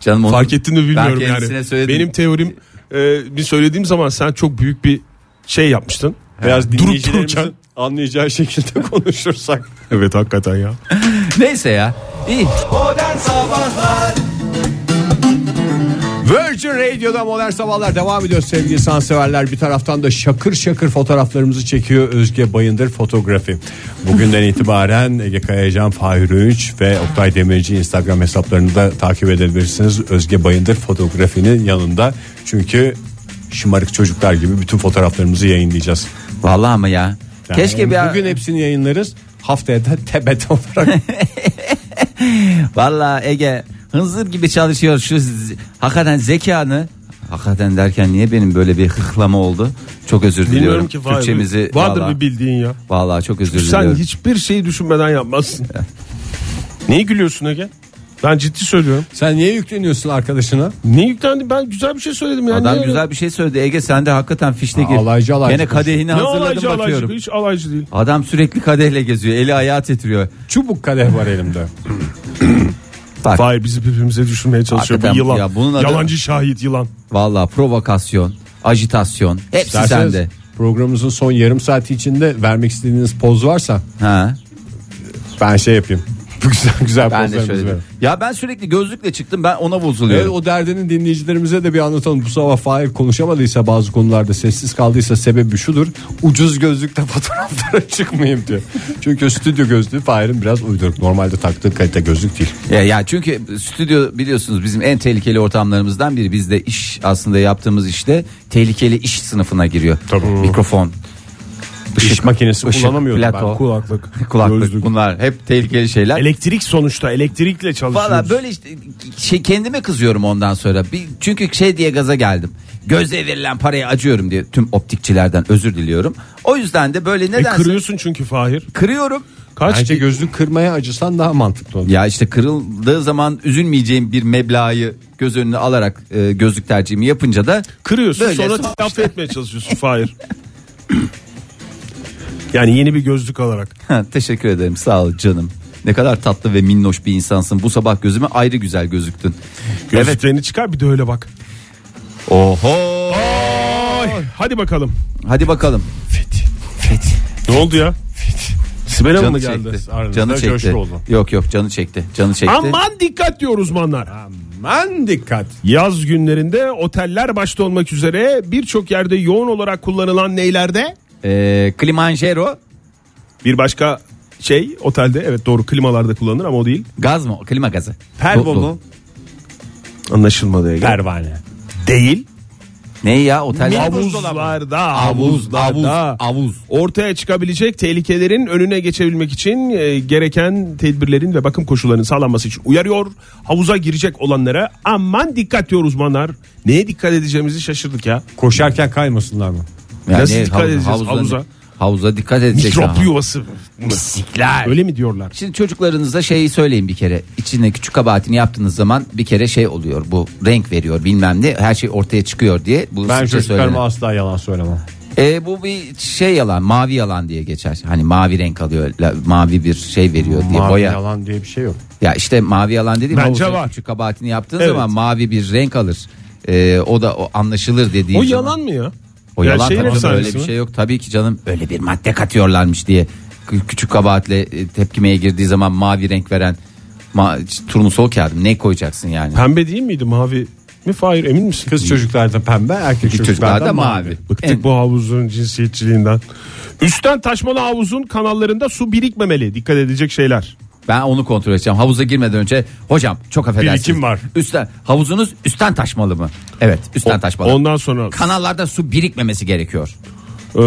[SPEAKER 5] Canım onu-
[SPEAKER 4] Fark ettin mi bilmiyorum
[SPEAKER 5] ben kendisine
[SPEAKER 4] yani.
[SPEAKER 5] söyledim.
[SPEAKER 4] Benim teorim e, bir söylediğim zaman sen çok büyük bir şey yapmıştın.
[SPEAKER 3] Biraz dinleyicilerimizin
[SPEAKER 4] dururken-
[SPEAKER 3] anlayacağı şekilde <laughs> konuşursak.
[SPEAKER 4] Evet hakikaten ya.
[SPEAKER 5] Neyse ya. İyi.
[SPEAKER 1] Modern Sabahlar
[SPEAKER 3] Virgin Radio'da modern sabahlar devam ediyor sevgili sanseverler. Bir taraftan da şakır şakır fotoğraflarımızı çekiyor Özge Bayındır fotoğrafı.
[SPEAKER 5] <laughs>
[SPEAKER 3] Bugünden itibaren Ege Kayacan, Fahir Öğünç ve Oktay Demirci Instagram hesaplarını da takip edebilirsiniz. Özge Bayındır fotoğrafının yanında. Çünkü şımarık çocuklar gibi bütün fotoğraflarımızı yayınlayacağız.
[SPEAKER 5] Vallahi ama ya.
[SPEAKER 3] Yani
[SPEAKER 5] Keşke bir
[SPEAKER 3] Bugün hepsini yayınlarız. Haftaya da <laughs> tebet
[SPEAKER 5] <laughs>
[SPEAKER 3] olarak.
[SPEAKER 5] Valla Ege hınzır gibi çalışıyor şu z- hakikaten zekanı. Hakikaten derken niye benim böyle bir hıklama oldu? Çok özür diliyorum.
[SPEAKER 4] Bilmiyorum ki Fahir.
[SPEAKER 5] Türkçemizi
[SPEAKER 4] Vardır
[SPEAKER 5] vallahi-
[SPEAKER 4] bir bildiğin ya.
[SPEAKER 5] Vallahi çok özür
[SPEAKER 4] Sen
[SPEAKER 5] diliyorum.
[SPEAKER 4] hiçbir şeyi düşünmeden
[SPEAKER 5] <laughs>
[SPEAKER 4] yapmazsın. Niye gülüyorsun Ege? Ben ciddi söylüyorum.
[SPEAKER 3] Sen niye yükleniyorsun arkadaşına?
[SPEAKER 4] Ne yüklendi? Ben güzel bir şey söyledim yani.
[SPEAKER 5] Adam
[SPEAKER 4] Niye-
[SPEAKER 5] güzel bir şey söyledi. Ege sen de hakikaten fişte
[SPEAKER 3] Ha,
[SPEAKER 5] gir.
[SPEAKER 3] alaycı alaycı
[SPEAKER 5] Gene kadehini
[SPEAKER 4] Ne
[SPEAKER 5] hazırladım
[SPEAKER 4] alaycı
[SPEAKER 5] şey bakıyorum.
[SPEAKER 4] alaycı hiç alaycı değil.
[SPEAKER 5] Adam sürekli kadehle geziyor. Eli ayağı titriyor.
[SPEAKER 3] Çubuk kadeh var elimde.
[SPEAKER 5] Bak
[SPEAKER 4] Fahir bizi birbirimize düşürmeye çalışıyor bu
[SPEAKER 5] Hakikaten
[SPEAKER 4] yılan.
[SPEAKER 5] ya bunun adı-
[SPEAKER 4] Yalancı şahit yılan.
[SPEAKER 5] valla provokasyon, ajitasyon hepsi
[SPEAKER 3] İsterseniz
[SPEAKER 5] sende.
[SPEAKER 3] Programımızın son yarım saati içinde vermek istediğiniz poz varsa
[SPEAKER 5] Ha.
[SPEAKER 3] ben şey yapayım. <laughs> güzel güzel
[SPEAKER 5] Ben de
[SPEAKER 3] pozlarımız
[SPEAKER 5] şöyle
[SPEAKER 3] var.
[SPEAKER 5] dedim. Ya ben sürekli gözlükle çıktım ben ona
[SPEAKER 3] Evet,
[SPEAKER 5] bozuluyorum.
[SPEAKER 3] o derdinin dinleyicilerimize de bir anlatalım. Bu sabah Fahir konuşamadıysa bazı konularda sessiz kaldıysa sebebi şudur. Ucuz gözlükle <laughs> fotoğraflara çıkmayayım diyor. Çünkü stüdyo gözlüğü Fahir'in biraz uyduruk. Normalde taktığı kalite gözlük değil.
[SPEAKER 5] Ya, ya çünkü stüdyo biliyorsunuz bizim en tehlikeli ortamlarımızdan biri. Biz de iş aslında yaptığımız işte tehlikeli iş sınıfına giriyor. Hmm. Mikrofon,
[SPEAKER 3] İş makinesi
[SPEAKER 5] ışık,
[SPEAKER 3] kullanamıyorum ben.
[SPEAKER 5] plato,
[SPEAKER 4] Kulaklık.
[SPEAKER 5] <laughs> kulaklık
[SPEAKER 4] gözlük.
[SPEAKER 5] bunlar hep tehlikeli şeyler.
[SPEAKER 4] Elektrik sonuçta elektrikle çalışıyoruz.
[SPEAKER 5] Valla böyle işte şey kendime kızıyorum ondan sonra. Bir, çünkü şey diye gaza geldim. Göze verilen paraya acıyorum diye tüm optikçilerden özür diliyorum. O yüzden de böyle
[SPEAKER 4] E,
[SPEAKER 5] nedense
[SPEAKER 4] kırıyorsun çünkü Fahir.
[SPEAKER 5] kırıyorum.
[SPEAKER 4] Kaç
[SPEAKER 3] Bence gözlük kırmaya acısan daha mantıklı olur.
[SPEAKER 5] Ya işte kırıldığı zaman üzülmeyeceğim bir meblağı göz önüne alarak e, gözlük tercihimi yapınca da
[SPEAKER 4] kırıyorsun
[SPEAKER 5] Böyle
[SPEAKER 4] sonra
[SPEAKER 5] sonuçta.
[SPEAKER 4] telafi etmeye çalışıyorsun
[SPEAKER 5] <laughs>
[SPEAKER 4] Fahir. yani yeni bir gözlük alarak.
[SPEAKER 5] Ha, Teşekkür ederim sağ ol canım. Ne kadar tatlı ve minnoş bir insansın. Bu sabah gözüme ayrı güzel gözüktün. Evet.
[SPEAKER 4] Gözlüklerini çıkar bir de öyle bak.
[SPEAKER 5] Oho.
[SPEAKER 4] Ay, hadi bakalım.
[SPEAKER 5] Hadi bakalım.
[SPEAKER 4] Ne oldu ya? Sibel Hanım mı
[SPEAKER 5] Canı
[SPEAKER 4] geldi?
[SPEAKER 5] çekti.
[SPEAKER 3] Aranızda
[SPEAKER 5] Canı
[SPEAKER 3] coşku
[SPEAKER 5] çekti.
[SPEAKER 3] oldu.
[SPEAKER 5] Yok yok canı çekti. Canı çekti.
[SPEAKER 4] Aman dikkat diyor uzmanlar.
[SPEAKER 3] Aman dikkat.
[SPEAKER 4] Yaz günlerinde oteller başta olmak üzere birçok yerde yoğun olarak kullanılan neylerde?
[SPEAKER 5] Ee, Klimanjero
[SPEAKER 4] Bir başka şey otelde evet doğru klimalarda kullanılır ama o değil.
[SPEAKER 5] gaz mı? Klima gazı.
[SPEAKER 3] Pervo
[SPEAKER 5] Do- do-
[SPEAKER 3] mu?
[SPEAKER 4] Anlaşılmadı Ege.
[SPEAKER 3] Pervane.
[SPEAKER 4] değil.
[SPEAKER 5] Ne ya otel?
[SPEAKER 4] Havuzlarda,
[SPEAKER 5] Avuz, avuz,
[SPEAKER 4] havuzlarda
[SPEAKER 5] avuz.
[SPEAKER 4] ortaya çıkabilecek tehlikelerin önüne geçebilmek için e, gereken tedbirlerin ve bakım koşullarının sağlanması için uyarıyor. Havuza girecek olanlara aman dikkat diyor uzmanlar. Neye dikkat edeceğimizi şaşırdık ya.
[SPEAKER 3] Koşarken kaymasınlar mı?
[SPEAKER 4] Nasıl dikkat edeceğiz havuza?
[SPEAKER 5] Havuza dikkat edecek.
[SPEAKER 4] Mikrop
[SPEAKER 5] ha.
[SPEAKER 4] yuvası. Öyle mi diyorlar?
[SPEAKER 5] Şimdi çocuklarınıza şeyi söyleyin bir kere. İçinde küçük kabahatini yaptığınız zaman bir kere şey oluyor. Bu renk veriyor bilmem ne. Her şey ortaya çıkıyor diye. Bunu
[SPEAKER 3] Ben
[SPEAKER 5] sıkça söyleyin.
[SPEAKER 3] çocuklarıma asla yalan söylemem.
[SPEAKER 5] E, bu bir şey yalan. Mavi yalan diye geçer. Hani mavi renk alıyor. la- mavi bir şey veriyor diye.
[SPEAKER 3] Mavi
[SPEAKER 5] boya.
[SPEAKER 3] yalan diye bir şey yok.
[SPEAKER 5] Ya işte mavi yalan dediğim
[SPEAKER 4] Bence
[SPEAKER 5] havuza
[SPEAKER 4] var.
[SPEAKER 5] küçük kabahatini yaptığın
[SPEAKER 4] Evet.
[SPEAKER 5] zaman mavi bir renk alır. E, o da o anlaşılır dediği
[SPEAKER 4] O
[SPEAKER 5] zaman.
[SPEAKER 4] yalan mı ya?
[SPEAKER 5] O
[SPEAKER 4] Ya
[SPEAKER 5] yalan
[SPEAKER 4] şeyin
[SPEAKER 5] tamam
[SPEAKER 4] efsanesi
[SPEAKER 5] öyle bir
[SPEAKER 4] mi?
[SPEAKER 5] şey yok. Tabii ki canım öyle bir madde katıyorlarmış diye kü- küçük kabahatle e, tepkimeye girdiği zaman mavi renk veren ma turnusol kağıdı ne koyacaksın yani?
[SPEAKER 4] Pembe değil miydi mavi mi Fahir emin misin?
[SPEAKER 3] Kız çocuklarda pembe, erkek
[SPEAKER 5] Çocuklar
[SPEAKER 3] çocuklarda
[SPEAKER 5] da
[SPEAKER 3] mavi.
[SPEAKER 5] mavi.
[SPEAKER 4] Bıktık
[SPEAKER 5] En-
[SPEAKER 4] bu havuzun cinsiyetçiliğinden. Üstten taşmalı havuzun kanallarında su birikmemeli. Dikkat edecek şeyler.
[SPEAKER 5] Ben onu kontrol edeceğim. Havuza girmeden önce hocam çok affedersiniz.
[SPEAKER 3] Birikim var.
[SPEAKER 5] Üstten, havuzunuz üstten taşmalı mı? Evet üstten taşmalı.
[SPEAKER 4] Ondan sonra
[SPEAKER 5] Kanallarda su birikmemesi gerekiyor.
[SPEAKER 4] e,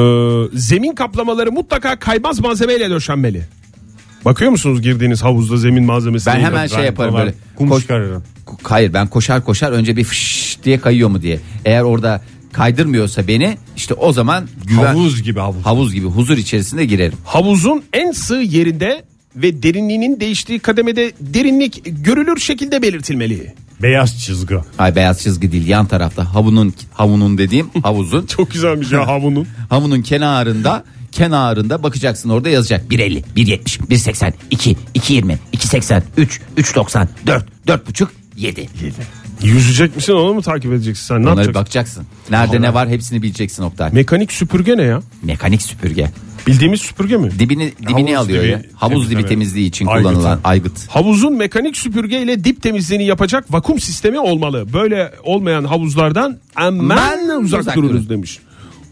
[SPEAKER 4] zemin kaplamaları mutlaka kaymaz malzemeyle döşenmeli. Bakıyor musunuz girdiğiniz havuzda zemin malzemesi?
[SPEAKER 5] Ben
[SPEAKER 4] değil mi?
[SPEAKER 5] hemen şey yaparım
[SPEAKER 4] falan.
[SPEAKER 5] böyle.
[SPEAKER 3] Kum
[SPEAKER 5] Koş-
[SPEAKER 3] çıkarırım.
[SPEAKER 5] Ko- Hayır ben koşar koşar önce bir fış diye kayıyor mu diye. Eğer orada kaydırmıyorsa beni işte o zaman güven, havuz.
[SPEAKER 3] Havuz gibi havuz.
[SPEAKER 5] gibi huzur içerisinde girerim.
[SPEAKER 4] Havuzun en sığ yerinde ve derinliğinin değiştiği kademede derinlik görülür şekilde belirtilmeli.
[SPEAKER 3] Beyaz çizgi.
[SPEAKER 5] Ay beyaz çizgi değil yan tarafta havunun
[SPEAKER 4] <laughs>
[SPEAKER 5] havunun dediğim havuzun
[SPEAKER 4] Çok güzelmiş ya havunun.
[SPEAKER 5] havunun kenarında kenarında bakacaksın orada yazacak 1.50, 1.70, 1.80, 2, 2.20, 2.80, 3, 3.90, 4, 4.5, 7.
[SPEAKER 4] <laughs> Yüzecek misin onu mu takip edeceksin sen? Ne
[SPEAKER 5] Onlara bir
[SPEAKER 4] yapacaksın?
[SPEAKER 5] bakacaksın. Nerede ne var hepsini bileceksin Oktay.
[SPEAKER 4] Mekanik süpürge ne ya?
[SPEAKER 5] Mekanik süpürge.
[SPEAKER 4] Bildiğimiz süpürge mi?
[SPEAKER 5] Dibini dibini
[SPEAKER 4] Havuz
[SPEAKER 5] alıyor
[SPEAKER 4] dibi
[SPEAKER 5] ya. Havuz dibi
[SPEAKER 4] temizleme.
[SPEAKER 5] temizliği için
[SPEAKER 4] Aygıt.
[SPEAKER 5] kullanılan aygıt.
[SPEAKER 4] Havuzun mekanik süpürge ile dip temizliğini yapacak vakum sistemi olmalı. Böyle olmayan havuzlardan
[SPEAKER 5] Ben
[SPEAKER 4] hemen uzak,
[SPEAKER 5] uzak
[SPEAKER 4] durunuz
[SPEAKER 5] durun.
[SPEAKER 4] demiş.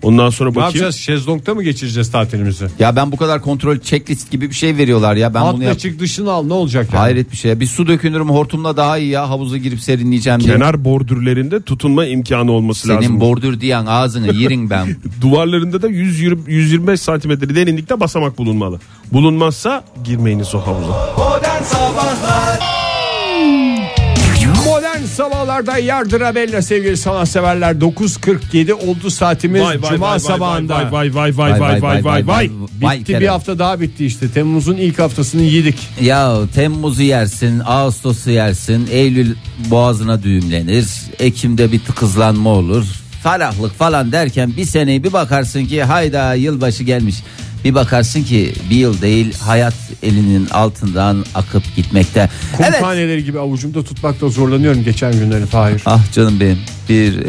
[SPEAKER 4] Ondan sonra
[SPEAKER 3] Ne
[SPEAKER 4] bakayım.
[SPEAKER 3] yapacağız? Şezlong'da mı geçireceğiz tatilimizi?
[SPEAKER 5] Ya ben bu kadar kontrol checklist gibi bir şey veriyorlar ya. Ben bunu
[SPEAKER 3] Atla
[SPEAKER 5] yap.
[SPEAKER 3] çık dışını al ne olacak yani?
[SPEAKER 5] Hayret bir şey. Bir su dökünürüm hortumla daha iyi ya. Havuza girip serinleyeceğim diye.
[SPEAKER 4] Kenar bordürlerinde tutunma imkanı olması
[SPEAKER 5] Senin
[SPEAKER 4] lazım.
[SPEAKER 5] bordür diyen ağzını yerin ben.
[SPEAKER 4] <laughs> Duvarlarında da 100 yürü- 125 santimetre derinlikte basamak bulunmalı. Bulunmazsa girmeyiniz o havuza.
[SPEAKER 1] Modern Sabahlar
[SPEAKER 3] Modern sabahlarda yardıra bella sevgili sanatseverler 9.47 oldu saatimiz Cuma sabahında.
[SPEAKER 4] Vay vay vay vay vay vay vay vay.
[SPEAKER 5] vay
[SPEAKER 3] Bitti bir
[SPEAKER 5] Kerem.
[SPEAKER 3] hafta daha bitti işte. Temmuz'un ilk haftasını yedik.
[SPEAKER 5] Ya Temmuz'u yersin, Ağustos'u yersin, Eylül boğazına düğümlenir, Ekim'de bir tıkızlanma olur. Ferahlık falan derken bir seneyi bir bakarsın ki hayda yılbaşı gelmiş. Bir bakarsın ki bir yıl değil hayat elinin altından akıp gitmekte. Evet.
[SPEAKER 3] Kumhaneleri gibi avucumda tutmakta zorlanıyorum geçen günleri Fahir.
[SPEAKER 5] Ah canım benim bir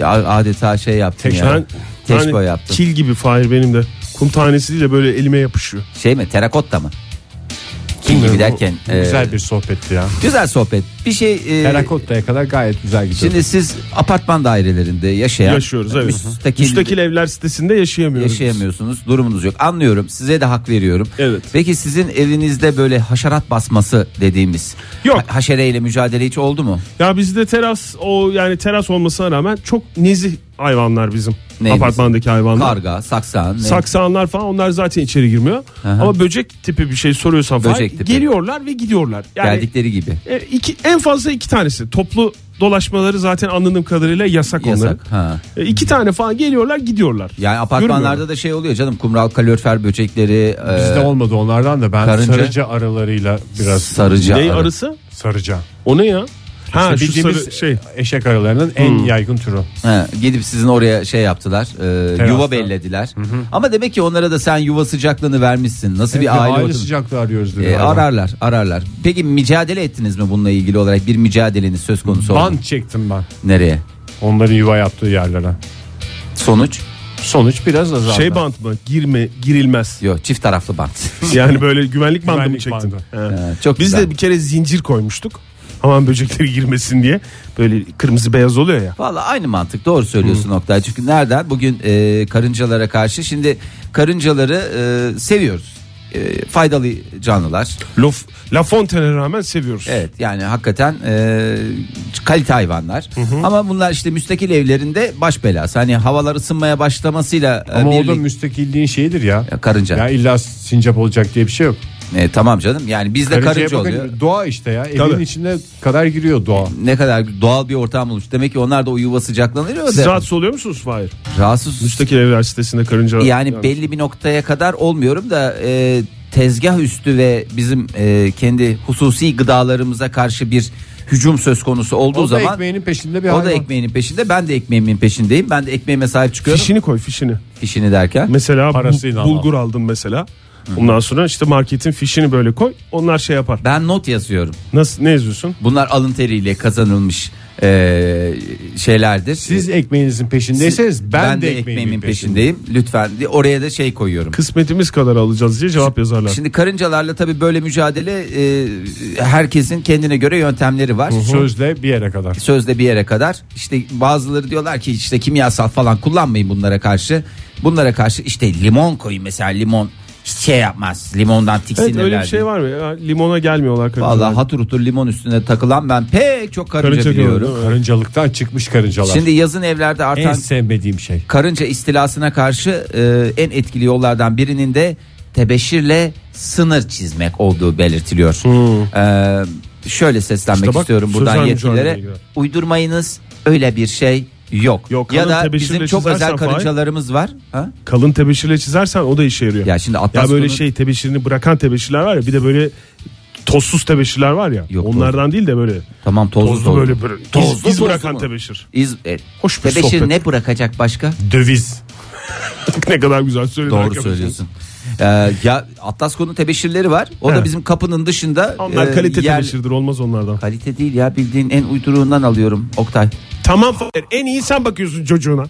[SPEAKER 5] e, a- adeta şey yaptım
[SPEAKER 4] Teşko
[SPEAKER 5] ya. Teşko yaptım.
[SPEAKER 4] Kil gibi Fahir benim de. Kum tanesiyle böyle elime yapışıyor.
[SPEAKER 5] Şey mi terakotta mı? King gibi derken. e,
[SPEAKER 3] Güzel bir sohbetti ya.
[SPEAKER 5] güzel sohbet. Bir şey. e,
[SPEAKER 3] Terakotta'ya kadar gayet güzel gidiyor.
[SPEAKER 5] Şimdi siz apartman dairelerinde yaşayan
[SPEAKER 4] Yaşıyoruz evet.
[SPEAKER 5] müstakil,
[SPEAKER 4] Müstakil, evler sitesinde yaşayamıyoruz. biz.
[SPEAKER 5] yaşayamıyorsunuz. Durumunuz yok. Anlıyorum. Size de hak veriyorum.
[SPEAKER 4] Evet.
[SPEAKER 5] Peki sizin evinizde böyle haşerat basması dediğimiz
[SPEAKER 4] Yok.
[SPEAKER 5] ha- haşereyle mücadele hiç oldu mu?
[SPEAKER 4] Ya bizde teras o yani teras olmasına rağmen çok nezih hayvanlar bizim.
[SPEAKER 5] Neyimiz?
[SPEAKER 4] Apartmandaki hayvanlar.
[SPEAKER 5] Karga, saksan, ne-
[SPEAKER 4] Saksanlar falan onlar zaten içeri girmiyor.
[SPEAKER 5] Aha.
[SPEAKER 4] Ama böcek tipi bir şey soruyorsan falan
[SPEAKER 5] Böcek tipi.
[SPEAKER 4] geliyorlar ve gidiyorlar. Yani
[SPEAKER 5] geldikleri gibi.
[SPEAKER 4] e, iki, en fazla iki tanesi. Toplu dolaşmaları zaten anladığım kadarıyla yasak, onların.
[SPEAKER 5] Yasak. Ha.
[SPEAKER 4] E, iki tane falan geliyorlar gidiyorlar.
[SPEAKER 5] Yani apartmanlarda
[SPEAKER 4] Görmüyorum.
[SPEAKER 5] da şey oluyor canım kumral kalorifer böcekleri e,
[SPEAKER 3] Bizde olmadı onlardan da ben
[SPEAKER 5] karınca-
[SPEAKER 3] sarıca aralarıyla biraz
[SPEAKER 5] sarıcı
[SPEAKER 4] Ney
[SPEAKER 5] arı.
[SPEAKER 4] arısı?
[SPEAKER 3] sarıca.
[SPEAKER 4] O ne ya? Ha
[SPEAKER 3] İşte
[SPEAKER 4] şu
[SPEAKER 3] bildiğimiz
[SPEAKER 4] sarı şey.
[SPEAKER 3] eşek aralarının
[SPEAKER 5] Hmm.
[SPEAKER 3] en yaygın türü.
[SPEAKER 5] Ha, gidip sizin oraya şey yaptılar e,
[SPEAKER 3] Terasta.
[SPEAKER 5] yuva bellediler. Ama demek ki onlara da sen yuva sıcaklığını vermişsin. Nasıl
[SPEAKER 3] Bir
[SPEAKER 5] bir aile,
[SPEAKER 3] E, aile,
[SPEAKER 5] ortamı-
[SPEAKER 3] sıcaklığı arıyoruz dedi.
[SPEAKER 5] E,
[SPEAKER 3] adam.
[SPEAKER 5] ararlar ararlar. Peki mücadele ettiniz mi bununla ilgili olarak bir mücadeleniz söz konusu oldu. mu?
[SPEAKER 3] Bant çektim ben.
[SPEAKER 5] Nereye?
[SPEAKER 3] Onların yuva yaptığı yerlere.
[SPEAKER 5] Sonuç?
[SPEAKER 3] Sonuç biraz azaldı.
[SPEAKER 4] Şey bant mı? Girme, girilmez.
[SPEAKER 5] Yok çift taraflı bant. <laughs>
[SPEAKER 4] Yani böyle güvenlik bandı
[SPEAKER 3] Güvenlik
[SPEAKER 4] mı çektin?
[SPEAKER 3] bandı.
[SPEAKER 4] He.
[SPEAKER 5] Ha, Çok
[SPEAKER 4] Biz
[SPEAKER 5] güzel.
[SPEAKER 4] de bir kere zincir koymuştuk. Aman böcekleri girmesin diye. Böyle kırmızı beyaz oluyor ya.
[SPEAKER 5] Valla aynı mantık doğru söylüyorsun Oktay. Çünkü nereden? Bugün e, karıncalara karşı. Şimdi karıncaları e, seviyoruz. E, faydalı canlılar.
[SPEAKER 4] Lof, La Fontaine'e rağmen seviyoruz.
[SPEAKER 5] Evet yani hakikaten e, kalite hayvanlar. Ama bunlar işte müstakil evlerinde baş belası. Hani havalar ısınmaya başlamasıyla e,
[SPEAKER 3] Ama o da
[SPEAKER 5] birlik-
[SPEAKER 3] müstakilliğin şeyidir ya.
[SPEAKER 5] Ya karınca.
[SPEAKER 3] Ya illa sincap olacak diye bir şey yok.
[SPEAKER 5] E, tamam canım. Yani bizde
[SPEAKER 3] Karıncaya
[SPEAKER 5] karınca
[SPEAKER 3] bakın,
[SPEAKER 5] oluyor.
[SPEAKER 3] Doğa işte ya. Evin
[SPEAKER 4] Tabii.
[SPEAKER 3] içine kadar giriyor doğa.
[SPEAKER 5] Ne kadar doğal bir ortam olmuş. Demek ki onlar da o yuva sıcaklanıyor.
[SPEAKER 4] Siz
[SPEAKER 5] da-
[SPEAKER 4] rahatsız oluyor musunuz Fahir?
[SPEAKER 5] Rahatsız.
[SPEAKER 4] Müstakil evler sitesinde karınca.
[SPEAKER 5] yani belli bir noktaya kadar olmuyorum da e, tezgah üstü ve bizim e, kendi hususi gıdalarımıza karşı bir hücum söz konusu olduğu
[SPEAKER 3] O, da
[SPEAKER 5] zaman
[SPEAKER 3] ekmeğinin peşinde bir
[SPEAKER 5] o
[SPEAKER 3] hayvan.
[SPEAKER 5] da ekmeğinin peşinde ben de ekmeğimin peşindeyim. Ben de ekmeğime sahip çıkıyorum.
[SPEAKER 4] Fişini koy fişini.
[SPEAKER 5] Fişini derken.
[SPEAKER 4] Mesela bu-
[SPEAKER 3] Parasıyla
[SPEAKER 4] bulgur aldım mesela. Ondan sonra işte marketin fişini böyle koy. Onlar şey yapar.
[SPEAKER 5] Ben not yazıyorum.
[SPEAKER 4] Nasıl ne yazıyorsun?
[SPEAKER 5] Bunlar alın teriyle kazanılmış e, şeylerdir.
[SPEAKER 3] Siz ekmeğinizin peşindeyseniz
[SPEAKER 5] Siz-
[SPEAKER 3] ben, de, ekmeğimin, peşindeyim.
[SPEAKER 5] peşindeyim. Lütfen oraya da şey koyuyorum.
[SPEAKER 4] Kısmetimiz kadar alacağız diye cevap yazarlar.
[SPEAKER 5] Şimdi karıncalarla tabii böyle mücadele e, herkesin kendine göre yöntemleri var.
[SPEAKER 3] Sözle bir yere kadar.
[SPEAKER 5] Sözde bir yere kadar. İşte bazıları diyorlar ki işte kimyasal falan kullanmayın bunlara karşı. Bunlara karşı işte limon koyun mesela limon hiç şey yapmaz. Limondan tiksinirler.
[SPEAKER 4] evet öyle bir şey
[SPEAKER 5] diye.
[SPEAKER 4] var mı? Ya, limona gelmiyorlar karıncalar.
[SPEAKER 5] Vallahi hatır hutur limon üstüne takılan ben pek çok karınca,
[SPEAKER 4] Karınca gördüm,
[SPEAKER 5] biliyorum.
[SPEAKER 4] evet.
[SPEAKER 3] Karıncalıktan çıkmış karıncalar.
[SPEAKER 5] Şimdi yazın evlerde
[SPEAKER 3] en
[SPEAKER 5] artan
[SPEAKER 3] sevmediğim şey.
[SPEAKER 5] karınca istilasına karşı e, en etkili yollardan birinin de tebeşirle sınır çizmek olduğu belirtiliyor. E, şöyle seslenmek
[SPEAKER 4] Hmm. İşte bak,
[SPEAKER 5] istiyorum buradan
[SPEAKER 4] sözel
[SPEAKER 5] yetkililere.
[SPEAKER 4] mücadeleye girer.
[SPEAKER 5] Uydurmayınız öyle bir şey yok.
[SPEAKER 4] Yok,
[SPEAKER 5] ya
[SPEAKER 4] hanım
[SPEAKER 5] da
[SPEAKER 4] tebeşirle
[SPEAKER 5] bizim çok
[SPEAKER 4] çizersen
[SPEAKER 5] özel
[SPEAKER 4] Fahir-
[SPEAKER 5] karıncalarımız var. Ha?
[SPEAKER 4] Kalın tebeşirle çizersen o da işe yarıyor.
[SPEAKER 5] Ya şimdi
[SPEAKER 4] Ya
[SPEAKER 5] Atlas
[SPEAKER 4] böyle
[SPEAKER 5] Kuru'nun-
[SPEAKER 4] şey tebeşirini bırakan tebeşirler var ya bir de böyle tozsuz tebeşirler var ya.
[SPEAKER 5] Yok,
[SPEAKER 4] onlardan değil de böyle
[SPEAKER 5] Tamam tozlu,
[SPEAKER 4] tozlu
[SPEAKER 5] tozlu.
[SPEAKER 4] böyle böyle iz-
[SPEAKER 5] Tozlu,
[SPEAKER 4] iz,
[SPEAKER 5] tozlu
[SPEAKER 4] bırakan
[SPEAKER 5] mu?
[SPEAKER 4] tebeşir.
[SPEAKER 5] İz, e,
[SPEAKER 4] Hoş bir
[SPEAKER 5] tebeşir
[SPEAKER 4] sohbet.
[SPEAKER 5] ne bırakacak başka?
[SPEAKER 3] Döviz.
[SPEAKER 4] ne kadar güzel söyledin.
[SPEAKER 5] Doğru
[SPEAKER 4] arkadaşlar.
[SPEAKER 5] söylüyorsun. E, ya Atlas Kuru'nun tebeşirleri var. O da
[SPEAKER 4] Evet.
[SPEAKER 5] bizim kapının dışında
[SPEAKER 4] Onlar
[SPEAKER 5] e,
[SPEAKER 4] kalite
[SPEAKER 5] yer-
[SPEAKER 4] tebeşirdir olmaz onlardan.
[SPEAKER 5] Kalite değil ya bildiğin en uyduruğundan alıyorum Oktay.
[SPEAKER 4] Tamam Fahir, en iyi sen bakıyorsun çocuğuna.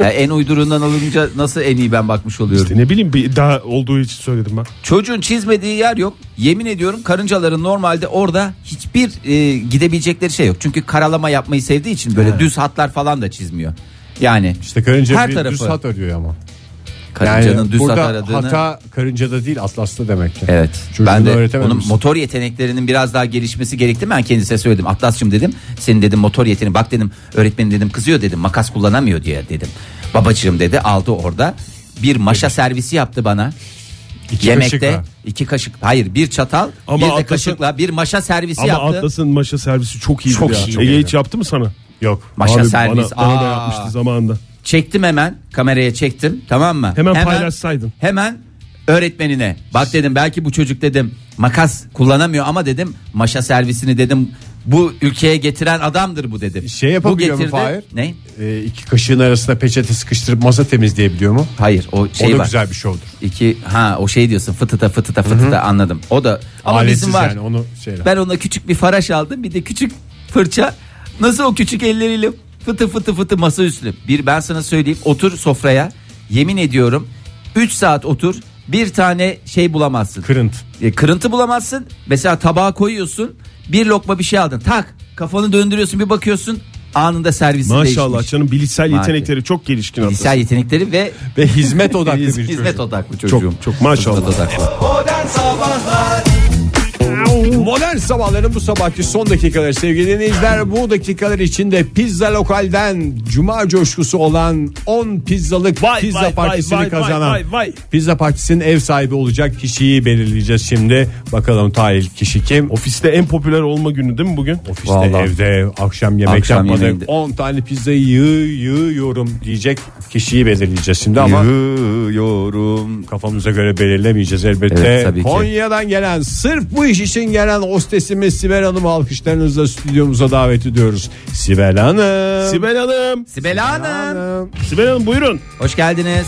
[SPEAKER 5] Ya en uyduruğundan alınca nasıl en iyi ben bakmış oluyorum.
[SPEAKER 4] İşte ne bileyim bir daha olduğu için söyledim ben.
[SPEAKER 5] Çocuğun çizmediği yer yok. Yemin ediyorum karıncaların normalde orada hiçbir e, gidebilecekleri şey yok. Çünkü karalama yapmayı sevdiği için böyle düz hatlar falan da çizmiyor. Yani
[SPEAKER 3] İşte karınca
[SPEAKER 5] Her
[SPEAKER 3] bir
[SPEAKER 5] tarafı.
[SPEAKER 3] düz hat arıyor ama.
[SPEAKER 5] karıncanın düz hat
[SPEAKER 3] burada
[SPEAKER 5] aradığını.
[SPEAKER 3] hata karıncada değil atlaslı demek ki.
[SPEAKER 5] Evet.
[SPEAKER 3] Çocuğuna
[SPEAKER 5] ben de
[SPEAKER 3] öğretemem
[SPEAKER 5] onun
[SPEAKER 3] misin?
[SPEAKER 5] motor yeteneklerinin biraz daha gelişmesi gerekti. Ben kendisine söyledim. Atlas'cığım dedim. Senin dedim motor yeteneğin. Bak dedim öğretmenim dedim kızıyor dedim. Makas kullanamıyor diye dedim. Babacığım dedi aldı orada. Bir maşa servisi yaptı bana.
[SPEAKER 3] İki
[SPEAKER 5] Yemekte
[SPEAKER 3] kaşıkla.
[SPEAKER 5] iki kaşık. Hayır bir çatal
[SPEAKER 4] Ama
[SPEAKER 5] bir de
[SPEAKER 4] Atlas'ın-
[SPEAKER 5] kaşıkla bir maşa servisi
[SPEAKER 4] Ama
[SPEAKER 5] yaptı.
[SPEAKER 4] Atlas'ın maşa servisi çok iyi.
[SPEAKER 3] Çok
[SPEAKER 4] ya.
[SPEAKER 3] iyi, çok
[SPEAKER 4] Ege
[SPEAKER 3] iyi.
[SPEAKER 4] hiç yaptı mı sana?
[SPEAKER 3] Yok.
[SPEAKER 5] Maşa
[SPEAKER 4] Abi
[SPEAKER 5] servis.
[SPEAKER 4] Bana, bana da
[SPEAKER 5] Aa.
[SPEAKER 4] yapmıştı zamanında.
[SPEAKER 5] Çektim hemen kameraya çektim tamam mı?
[SPEAKER 4] Hemen paylaşsaydın.
[SPEAKER 5] Hemen öğretmenine bak dedim belki bu çocuk dedim makas kullanamıyor ama dedim maşa servisini dedim bu ülkeye getiren adamdır bu dedim.
[SPEAKER 3] Şey
[SPEAKER 5] bu
[SPEAKER 3] yapabiliyor mu
[SPEAKER 5] getirdi.
[SPEAKER 3] Fahir?
[SPEAKER 5] Ne?
[SPEAKER 3] Ee, iki kaşığın arasında peçete sıkıştırıp masa temizleyebiliyor mu?
[SPEAKER 5] Hayır o şey
[SPEAKER 3] o da
[SPEAKER 5] var.
[SPEAKER 3] güzel bir şovdur.
[SPEAKER 5] İki ha o şey diyorsun fıtıta fıtıta fıtıta anladım. O da ama
[SPEAKER 3] Aletsiz
[SPEAKER 5] bizim var.
[SPEAKER 3] yani onu şeyle.
[SPEAKER 5] Ben ona küçük bir faraş aldım bir de küçük fırça. Nasıl o küçük elleriyle fıtı fıtı fıtı masa üstü. Bir ben sana söyleyeyim otur sofraya yemin ediyorum 3 saat otur bir tane şey bulamazsın.
[SPEAKER 3] Kırıntı.
[SPEAKER 5] E, kırıntı bulamazsın. Mesela tabağa koyuyorsun. Bir lokma bir şey aldın. Tak. Kafanı döndürüyorsun bir bakıyorsun. Anında servisi
[SPEAKER 4] Maşallah
[SPEAKER 5] değişmiş.
[SPEAKER 4] canım bilişsel
[SPEAKER 5] Maalesef.
[SPEAKER 4] yetenekleri çok gelişkin.
[SPEAKER 5] Bilişsel yetenekleri ve
[SPEAKER 3] Ve hizmet odaklı bir
[SPEAKER 5] Hizmet
[SPEAKER 3] çocuk.
[SPEAKER 5] odaklı çocuğum.
[SPEAKER 4] çok maşallah.
[SPEAKER 5] Hizmet odaklı.
[SPEAKER 1] Modern Sabahlar
[SPEAKER 3] Modern sabahların bu sabahki son dakikaları sevgili dinleyiciler. Bu dakikalar içinde pizza lokalden cuma coşkusu olan 10 pizzalık
[SPEAKER 4] Vay,
[SPEAKER 3] pizza
[SPEAKER 4] vay, vay,
[SPEAKER 3] partisini
[SPEAKER 4] vay, vay,
[SPEAKER 3] kazanan
[SPEAKER 4] vay, vay.
[SPEAKER 3] pizza partisinin ev sahibi olacak kişiyi belirleyeceğiz şimdi. Bakalım tahil kişi kim?
[SPEAKER 4] Ofiste en popüler olma günü değil mi bugün?
[SPEAKER 3] Ofiste
[SPEAKER 5] Vallahi.
[SPEAKER 3] evde akşam yemek
[SPEAKER 5] Akşam
[SPEAKER 3] yapmadık
[SPEAKER 5] yemeğinde.
[SPEAKER 3] 10 tane pizzayı yığ, yığıyorum diyecek kişiyi belirleyeceğiz şimdi ama
[SPEAKER 5] Yığıyorum.
[SPEAKER 3] kafamıza göre belirlemeyeceğiz elbette.
[SPEAKER 5] Evet, tabii ki.
[SPEAKER 3] Konya'dan gelen sırf bu iş için gelen hostesimiz Sibel Hanım alkışlarınızla stüdyomuza davet ediyoruz. Sibel Hanım.
[SPEAKER 4] Sibel Hanım.
[SPEAKER 5] Sibel Hanım.
[SPEAKER 3] Hanım.
[SPEAKER 4] Sibel Hanım buyurun.
[SPEAKER 5] Hoş geldiniz.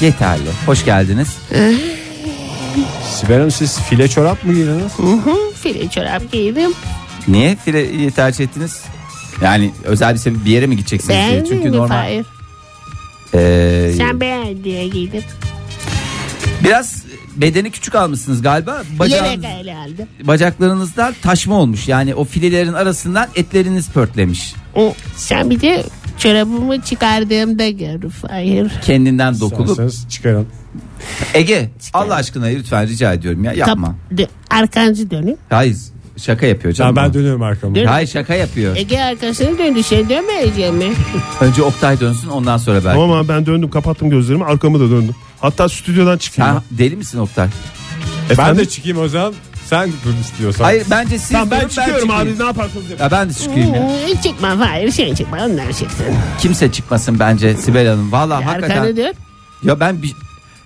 [SPEAKER 5] Yeterli. Hoş geldiniz.
[SPEAKER 3] Sibel Hanım siz file çorap mı giydiniz?
[SPEAKER 6] File çorap giydim.
[SPEAKER 5] Niye fileyi tercih ettiniz? Yani özel bir sebep bir yere mi gideceksiniz diye.
[SPEAKER 6] Beğendin
[SPEAKER 5] Çünkü
[SPEAKER 6] mi
[SPEAKER 5] normal.
[SPEAKER 6] Fahir?
[SPEAKER 5] Ee,
[SPEAKER 6] Sen beğen diye giydim.
[SPEAKER 5] biraz bedeni küçük almışsınız galiba. Bacağınız,
[SPEAKER 6] Yelek öyle aldım.
[SPEAKER 5] bacaklarınızdan taşma olmuş. Yani o filelerin arasından etleriniz pörtlemiş.
[SPEAKER 6] Sen bir de çorabımı çıkardığımda gör Fahir.
[SPEAKER 5] Kendinden dokulup.
[SPEAKER 3] Sensiz çıkarın.
[SPEAKER 5] Ege Allah aşkına lütfen rica ediyorum ya yapma.
[SPEAKER 6] Kap- dö- Arkanızı dönün.
[SPEAKER 5] Hayır şaka yapıyor canım.
[SPEAKER 3] Tamam, ben dönüyorum arkamı.
[SPEAKER 6] Dön-
[SPEAKER 5] Hayır şaka yapıyor.
[SPEAKER 6] Ege arkasını döndü. Sen dönmeyecek mi?
[SPEAKER 5] Önce Oktay dönsün ondan sonra ben.
[SPEAKER 4] Tamam abi ben döndüm kapattım gözlerimi arkamı da döndüm. Hatta stüdyodan çıkayım.
[SPEAKER 5] Ha, deli misin Oktay?
[SPEAKER 3] Ben
[SPEAKER 4] Efendim?
[SPEAKER 3] de çıkayım o zaman. Sen dur istiyorsan.
[SPEAKER 5] Hayır bence siz
[SPEAKER 4] Tamam, ben
[SPEAKER 5] durun,
[SPEAKER 4] çıkıyorum
[SPEAKER 5] çıkayım.
[SPEAKER 4] abi ne yaparsanız yapın.
[SPEAKER 5] Ya ben de çıkayım ya.
[SPEAKER 6] Ee, çıkma Fahir. Sen çıkma. Onlar çıksın.
[SPEAKER 5] Kimse çıkmasın bence Sibel Hanım. Valla hakikaten.
[SPEAKER 6] Arkanı dön.
[SPEAKER 5] Ya ben bir...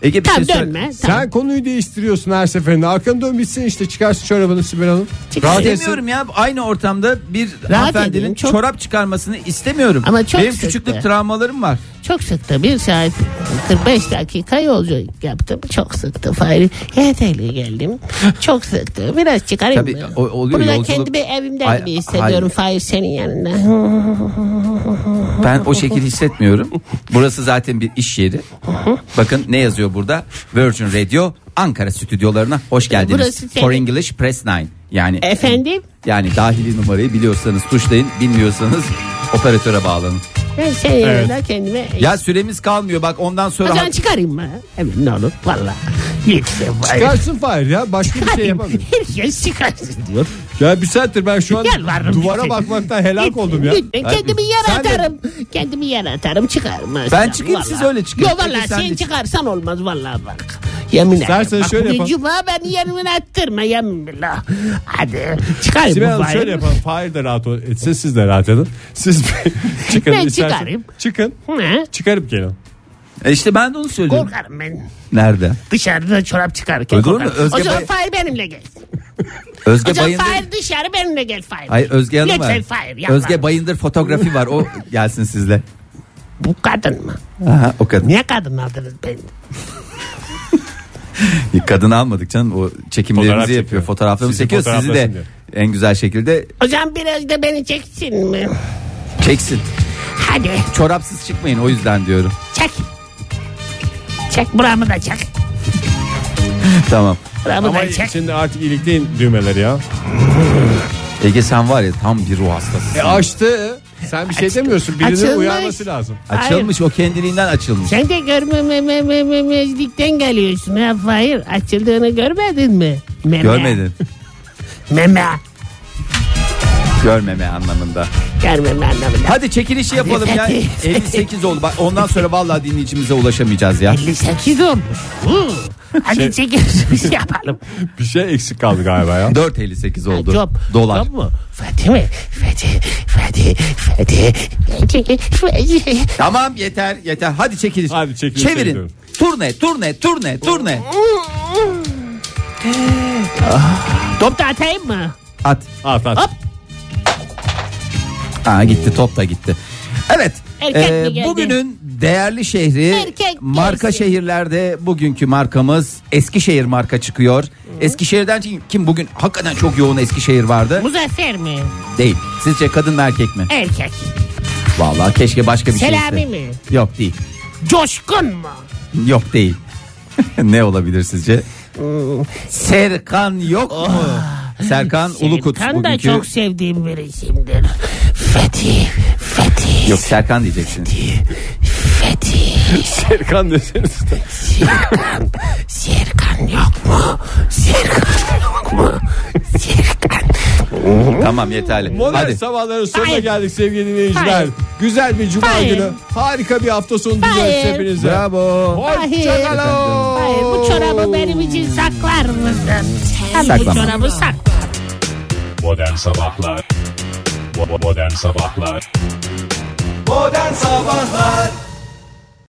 [SPEAKER 5] Ege bir
[SPEAKER 6] Tamam
[SPEAKER 5] şey söyle-
[SPEAKER 6] dönme. Tamam.
[SPEAKER 3] Sen konuyu değiştiriyorsun her seferinde. Arkanı dön bitsin işte çıkarsın çorabını Sibel Hanım.
[SPEAKER 6] Çık-
[SPEAKER 3] Rahat etsin.
[SPEAKER 5] İstemiyorum ya aynı ortamda bir hanımefendinin
[SPEAKER 6] edin, çok-
[SPEAKER 5] çorap çıkarmasını istemiyorum.
[SPEAKER 6] Ama çok
[SPEAKER 5] Benim
[SPEAKER 6] sıktı.
[SPEAKER 5] küçüklük travmalarım var.
[SPEAKER 6] Çok sıktı. Bir saat 45 dakika yolculuk yaptım. Çok sıktı Fahri. Yeterli geldim. Çok sıktı. Biraz çıkarayım
[SPEAKER 5] Tabii,
[SPEAKER 6] mı?
[SPEAKER 5] o- oluyor
[SPEAKER 6] Burada
[SPEAKER 5] yolculuk-
[SPEAKER 6] kendimi evimde
[SPEAKER 5] Ay-
[SPEAKER 6] gibi hissediyorum Fahri senin yanında. <laughs>
[SPEAKER 5] Ben o şekil hissetmiyorum. Burası zaten bir iş yeri. Bakın ne yazıyor burada? Virgin Radio Ankara stüdyolarına hoş geldiniz.
[SPEAKER 6] Burası senin-
[SPEAKER 5] For English Press 9. Yani
[SPEAKER 6] Efendim?
[SPEAKER 5] Yani dahili numarayı biliyorsanız tuşlayın, bilmiyorsanız operatöre bağlanın.
[SPEAKER 6] Ben senin yanında kendime...
[SPEAKER 5] Ya süremiz kalmıyor bak ondan
[SPEAKER 6] o
[SPEAKER 5] sonra
[SPEAKER 6] zaman çıkarayım mı? Evet ne olur. Valla. Lütfen Fahri.
[SPEAKER 3] Çıkarsın Fahir ya. Başka bir şey yapamıyorum.
[SPEAKER 6] Herkes çıkarsın
[SPEAKER 3] <laughs>
[SPEAKER 6] diyor.
[SPEAKER 3] Ya bir saattir ben şu an
[SPEAKER 6] Yalvarırım
[SPEAKER 3] duvara
[SPEAKER 6] bize.
[SPEAKER 3] bakmaktan helak oldum ya.
[SPEAKER 6] Lütfen kendimi yaratarım. Kendimi yaratarım çıkarım.
[SPEAKER 5] Ben çıkayım, siz öyle çıkın.
[SPEAKER 6] Yok valla
[SPEAKER 5] Peki, sen
[SPEAKER 6] sen,
[SPEAKER 5] de çık.
[SPEAKER 6] çıkarsan olmaz valla bak. Yemin ederim.
[SPEAKER 3] İstersen
[SPEAKER 6] bak,
[SPEAKER 3] şöyle
[SPEAKER 6] bu
[SPEAKER 3] yapalım.
[SPEAKER 6] Cuma beni yemin ettirme yemin billah. Hadi çıkarayım
[SPEAKER 3] Sibel
[SPEAKER 6] bu
[SPEAKER 3] Hanım
[SPEAKER 6] fayı.
[SPEAKER 3] şöyle yapalım. Fahir de rahat ol- etsin siz de rahat edin.
[SPEAKER 6] <laughs>
[SPEAKER 3] Siz bir çıkın
[SPEAKER 6] Ben
[SPEAKER 3] isterseniz.
[SPEAKER 6] çıkarayım.
[SPEAKER 3] Çıkın.
[SPEAKER 6] He?
[SPEAKER 3] Çıkarıp gelin.
[SPEAKER 5] E işte ben de onu söylüyorum.
[SPEAKER 6] Korkarım ben.
[SPEAKER 5] Nerede?
[SPEAKER 6] Dışarıda çorap çıkarken
[SPEAKER 5] Öyle olur mu?
[SPEAKER 6] korkarım.
[SPEAKER 5] Özge
[SPEAKER 6] o zaman
[SPEAKER 5] Bay-
[SPEAKER 6] Fahir benimle gel.
[SPEAKER 5] Özge
[SPEAKER 6] O zaman
[SPEAKER 5] Bayındır.
[SPEAKER 6] Fahir dışarı benimle gel Fahir.
[SPEAKER 5] Hayır Özge Hanım
[SPEAKER 6] Lütfen
[SPEAKER 5] var.
[SPEAKER 6] Fahir yapma.
[SPEAKER 5] Özge Bayındır fotoğrafı var. O gelsin sizle.
[SPEAKER 6] Bu kadın mı?
[SPEAKER 5] Aha, o kadın.
[SPEAKER 6] Niye kadın aldınız beni?
[SPEAKER 5] Kadın almadık canım. O çekimlerimizi
[SPEAKER 3] Fotoğraf
[SPEAKER 5] yapıyor.
[SPEAKER 3] çekiyor.
[SPEAKER 5] Fotoğraflarımızı
[SPEAKER 3] Sizi
[SPEAKER 5] çekiyor. Sizi de
[SPEAKER 3] fotoğraflasın diyor.
[SPEAKER 5] en güzel şekilde
[SPEAKER 6] O zaman biraz da beni çeksin mi?
[SPEAKER 5] çeksin.
[SPEAKER 6] Hadi
[SPEAKER 5] Çorapsız çıkmayın o yüzden diyorum. <laughs>
[SPEAKER 6] çek. Çek buramı da çek.
[SPEAKER 5] Tamam.
[SPEAKER 6] Buramı
[SPEAKER 3] Ama
[SPEAKER 6] da çek.
[SPEAKER 4] şey-
[SPEAKER 3] şimdi artık ilikleyin düğmeleri ya.
[SPEAKER 5] Ege sen var ya tam bir ruh hastası.
[SPEAKER 3] E açtı. Sen bir şey demiyorsun. Birinin
[SPEAKER 6] Açılmış.
[SPEAKER 3] uyarması lazım.
[SPEAKER 5] Açılmış o kendiliğinden açılmış.
[SPEAKER 6] Sen de görmemezlikten geliyorsun ha Fahir. Açıldığını görmedin mi? Meme.
[SPEAKER 5] Görmedin.
[SPEAKER 6] Meme.
[SPEAKER 5] Görmeme anlamında.
[SPEAKER 6] Görmeme anlamında.
[SPEAKER 5] Hadi çekilişi yapalım ya.
[SPEAKER 6] hadi.
[SPEAKER 5] 58 oldu. Bak ondan sonra vallahi dinleyicimize ulaşamayacağız ya.
[SPEAKER 6] 58 olmuş. Hı. Hadi çekilişimizi yapalım.
[SPEAKER 3] Bir şey eksik kaldı galiba
[SPEAKER 6] <laughs>
[SPEAKER 3] ya.
[SPEAKER 5] 4.58 oldu.
[SPEAKER 6] Job.
[SPEAKER 5] Dolar.
[SPEAKER 6] Job mu? Fethi mi? Fethi. Fethi. Fethi. Fethi. Fethi.
[SPEAKER 5] Tamam yeter yeter. Hadi çekiliş.
[SPEAKER 3] Hadi çekiliş
[SPEAKER 5] Çevirin.
[SPEAKER 3] yapıyorum.
[SPEAKER 5] Turne turne turne turne.
[SPEAKER 6] Top da atayım mı?
[SPEAKER 5] At.
[SPEAKER 3] At at.
[SPEAKER 6] Hop.
[SPEAKER 5] Ha gitti top da gitti. Evet. e,
[SPEAKER 6] Erkek mi geldi?
[SPEAKER 5] bugünün değerli şehri
[SPEAKER 6] Erkek
[SPEAKER 5] marka
[SPEAKER 6] gelsin.
[SPEAKER 5] şehirlerde bugünkü markamız Eskişehir marka çıkıyor. Eskişehir'den kim- kim bugün hakikaten çok yoğun Eskişehir vardı?
[SPEAKER 6] Muzaffer mi?
[SPEAKER 5] Değil. Sizce kadın mı erkek mi?
[SPEAKER 6] Erkek.
[SPEAKER 5] Vallahi keşke başka bir şey
[SPEAKER 6] Selami
[SPEAKER 5] iste.
[SPEAKER 6] mi?
[SPEAKER 5] Yok değil.
[SPEAKER 6] Coşkun mu?
[SPEAKER 5] Yok değil. <laughs> ne olabilir sizce?
[SPEAKER 6] Hmm.
[SPEAKER 5] Serkan yok mu? Serkan Ulukut
[SPEAKER 6] Ah, Serkan da
[SPEAKER 5] bugünkü.
[SPEAKER 6] çok sevdiğim bir isimdir. Fethi, Fethi,
[SPEAKER 5] Yok Serkan diyeceksin.
[SPEAKER 6] Fethi.
[SPEAKER 5] <laughs>
[SPEAKER 3] Serkan deseniz.
[SPEAKER 6] Serkan yok mu? Serkan yok mu? Serkan.
[SPEAKER 5] Tamam yeterli.
[SPEAKER 3] Modern
[SPEAKER 5] Hadi.
[SPEAKER 3] sabahların sonuna
[SPEAKER 6] Hayır.
[SPEAKER 3] geldik sevgili dinleyiciler.
[SPEAKER 6] Hayır.
[SPEAKER 3] Güzel bir cuma
[SPEAKER 6] Hayır.
[SPEAKER 3] günü. Harika bir hafta sonu diliyoruz
[SPEAKER 6] Hayır.
[SPEAKER 3] hepinize.
[SPEAKER 5] Bravo.
[SPEAKER 6] Hayır.
[SPEAKER 3] Hoşçakalın.
[SPEAKER 6] Hayır bu çorabı benim için saklar mısın? Sen
[SPEAKER 5] Saklamam.
[SPEAKER 6] bu çorabı sak.
[SPEAKER 7] Modern Sabahlar Bo- Modern Sabahlar
[SPEAKER 1] Oh, Modern Sabahlar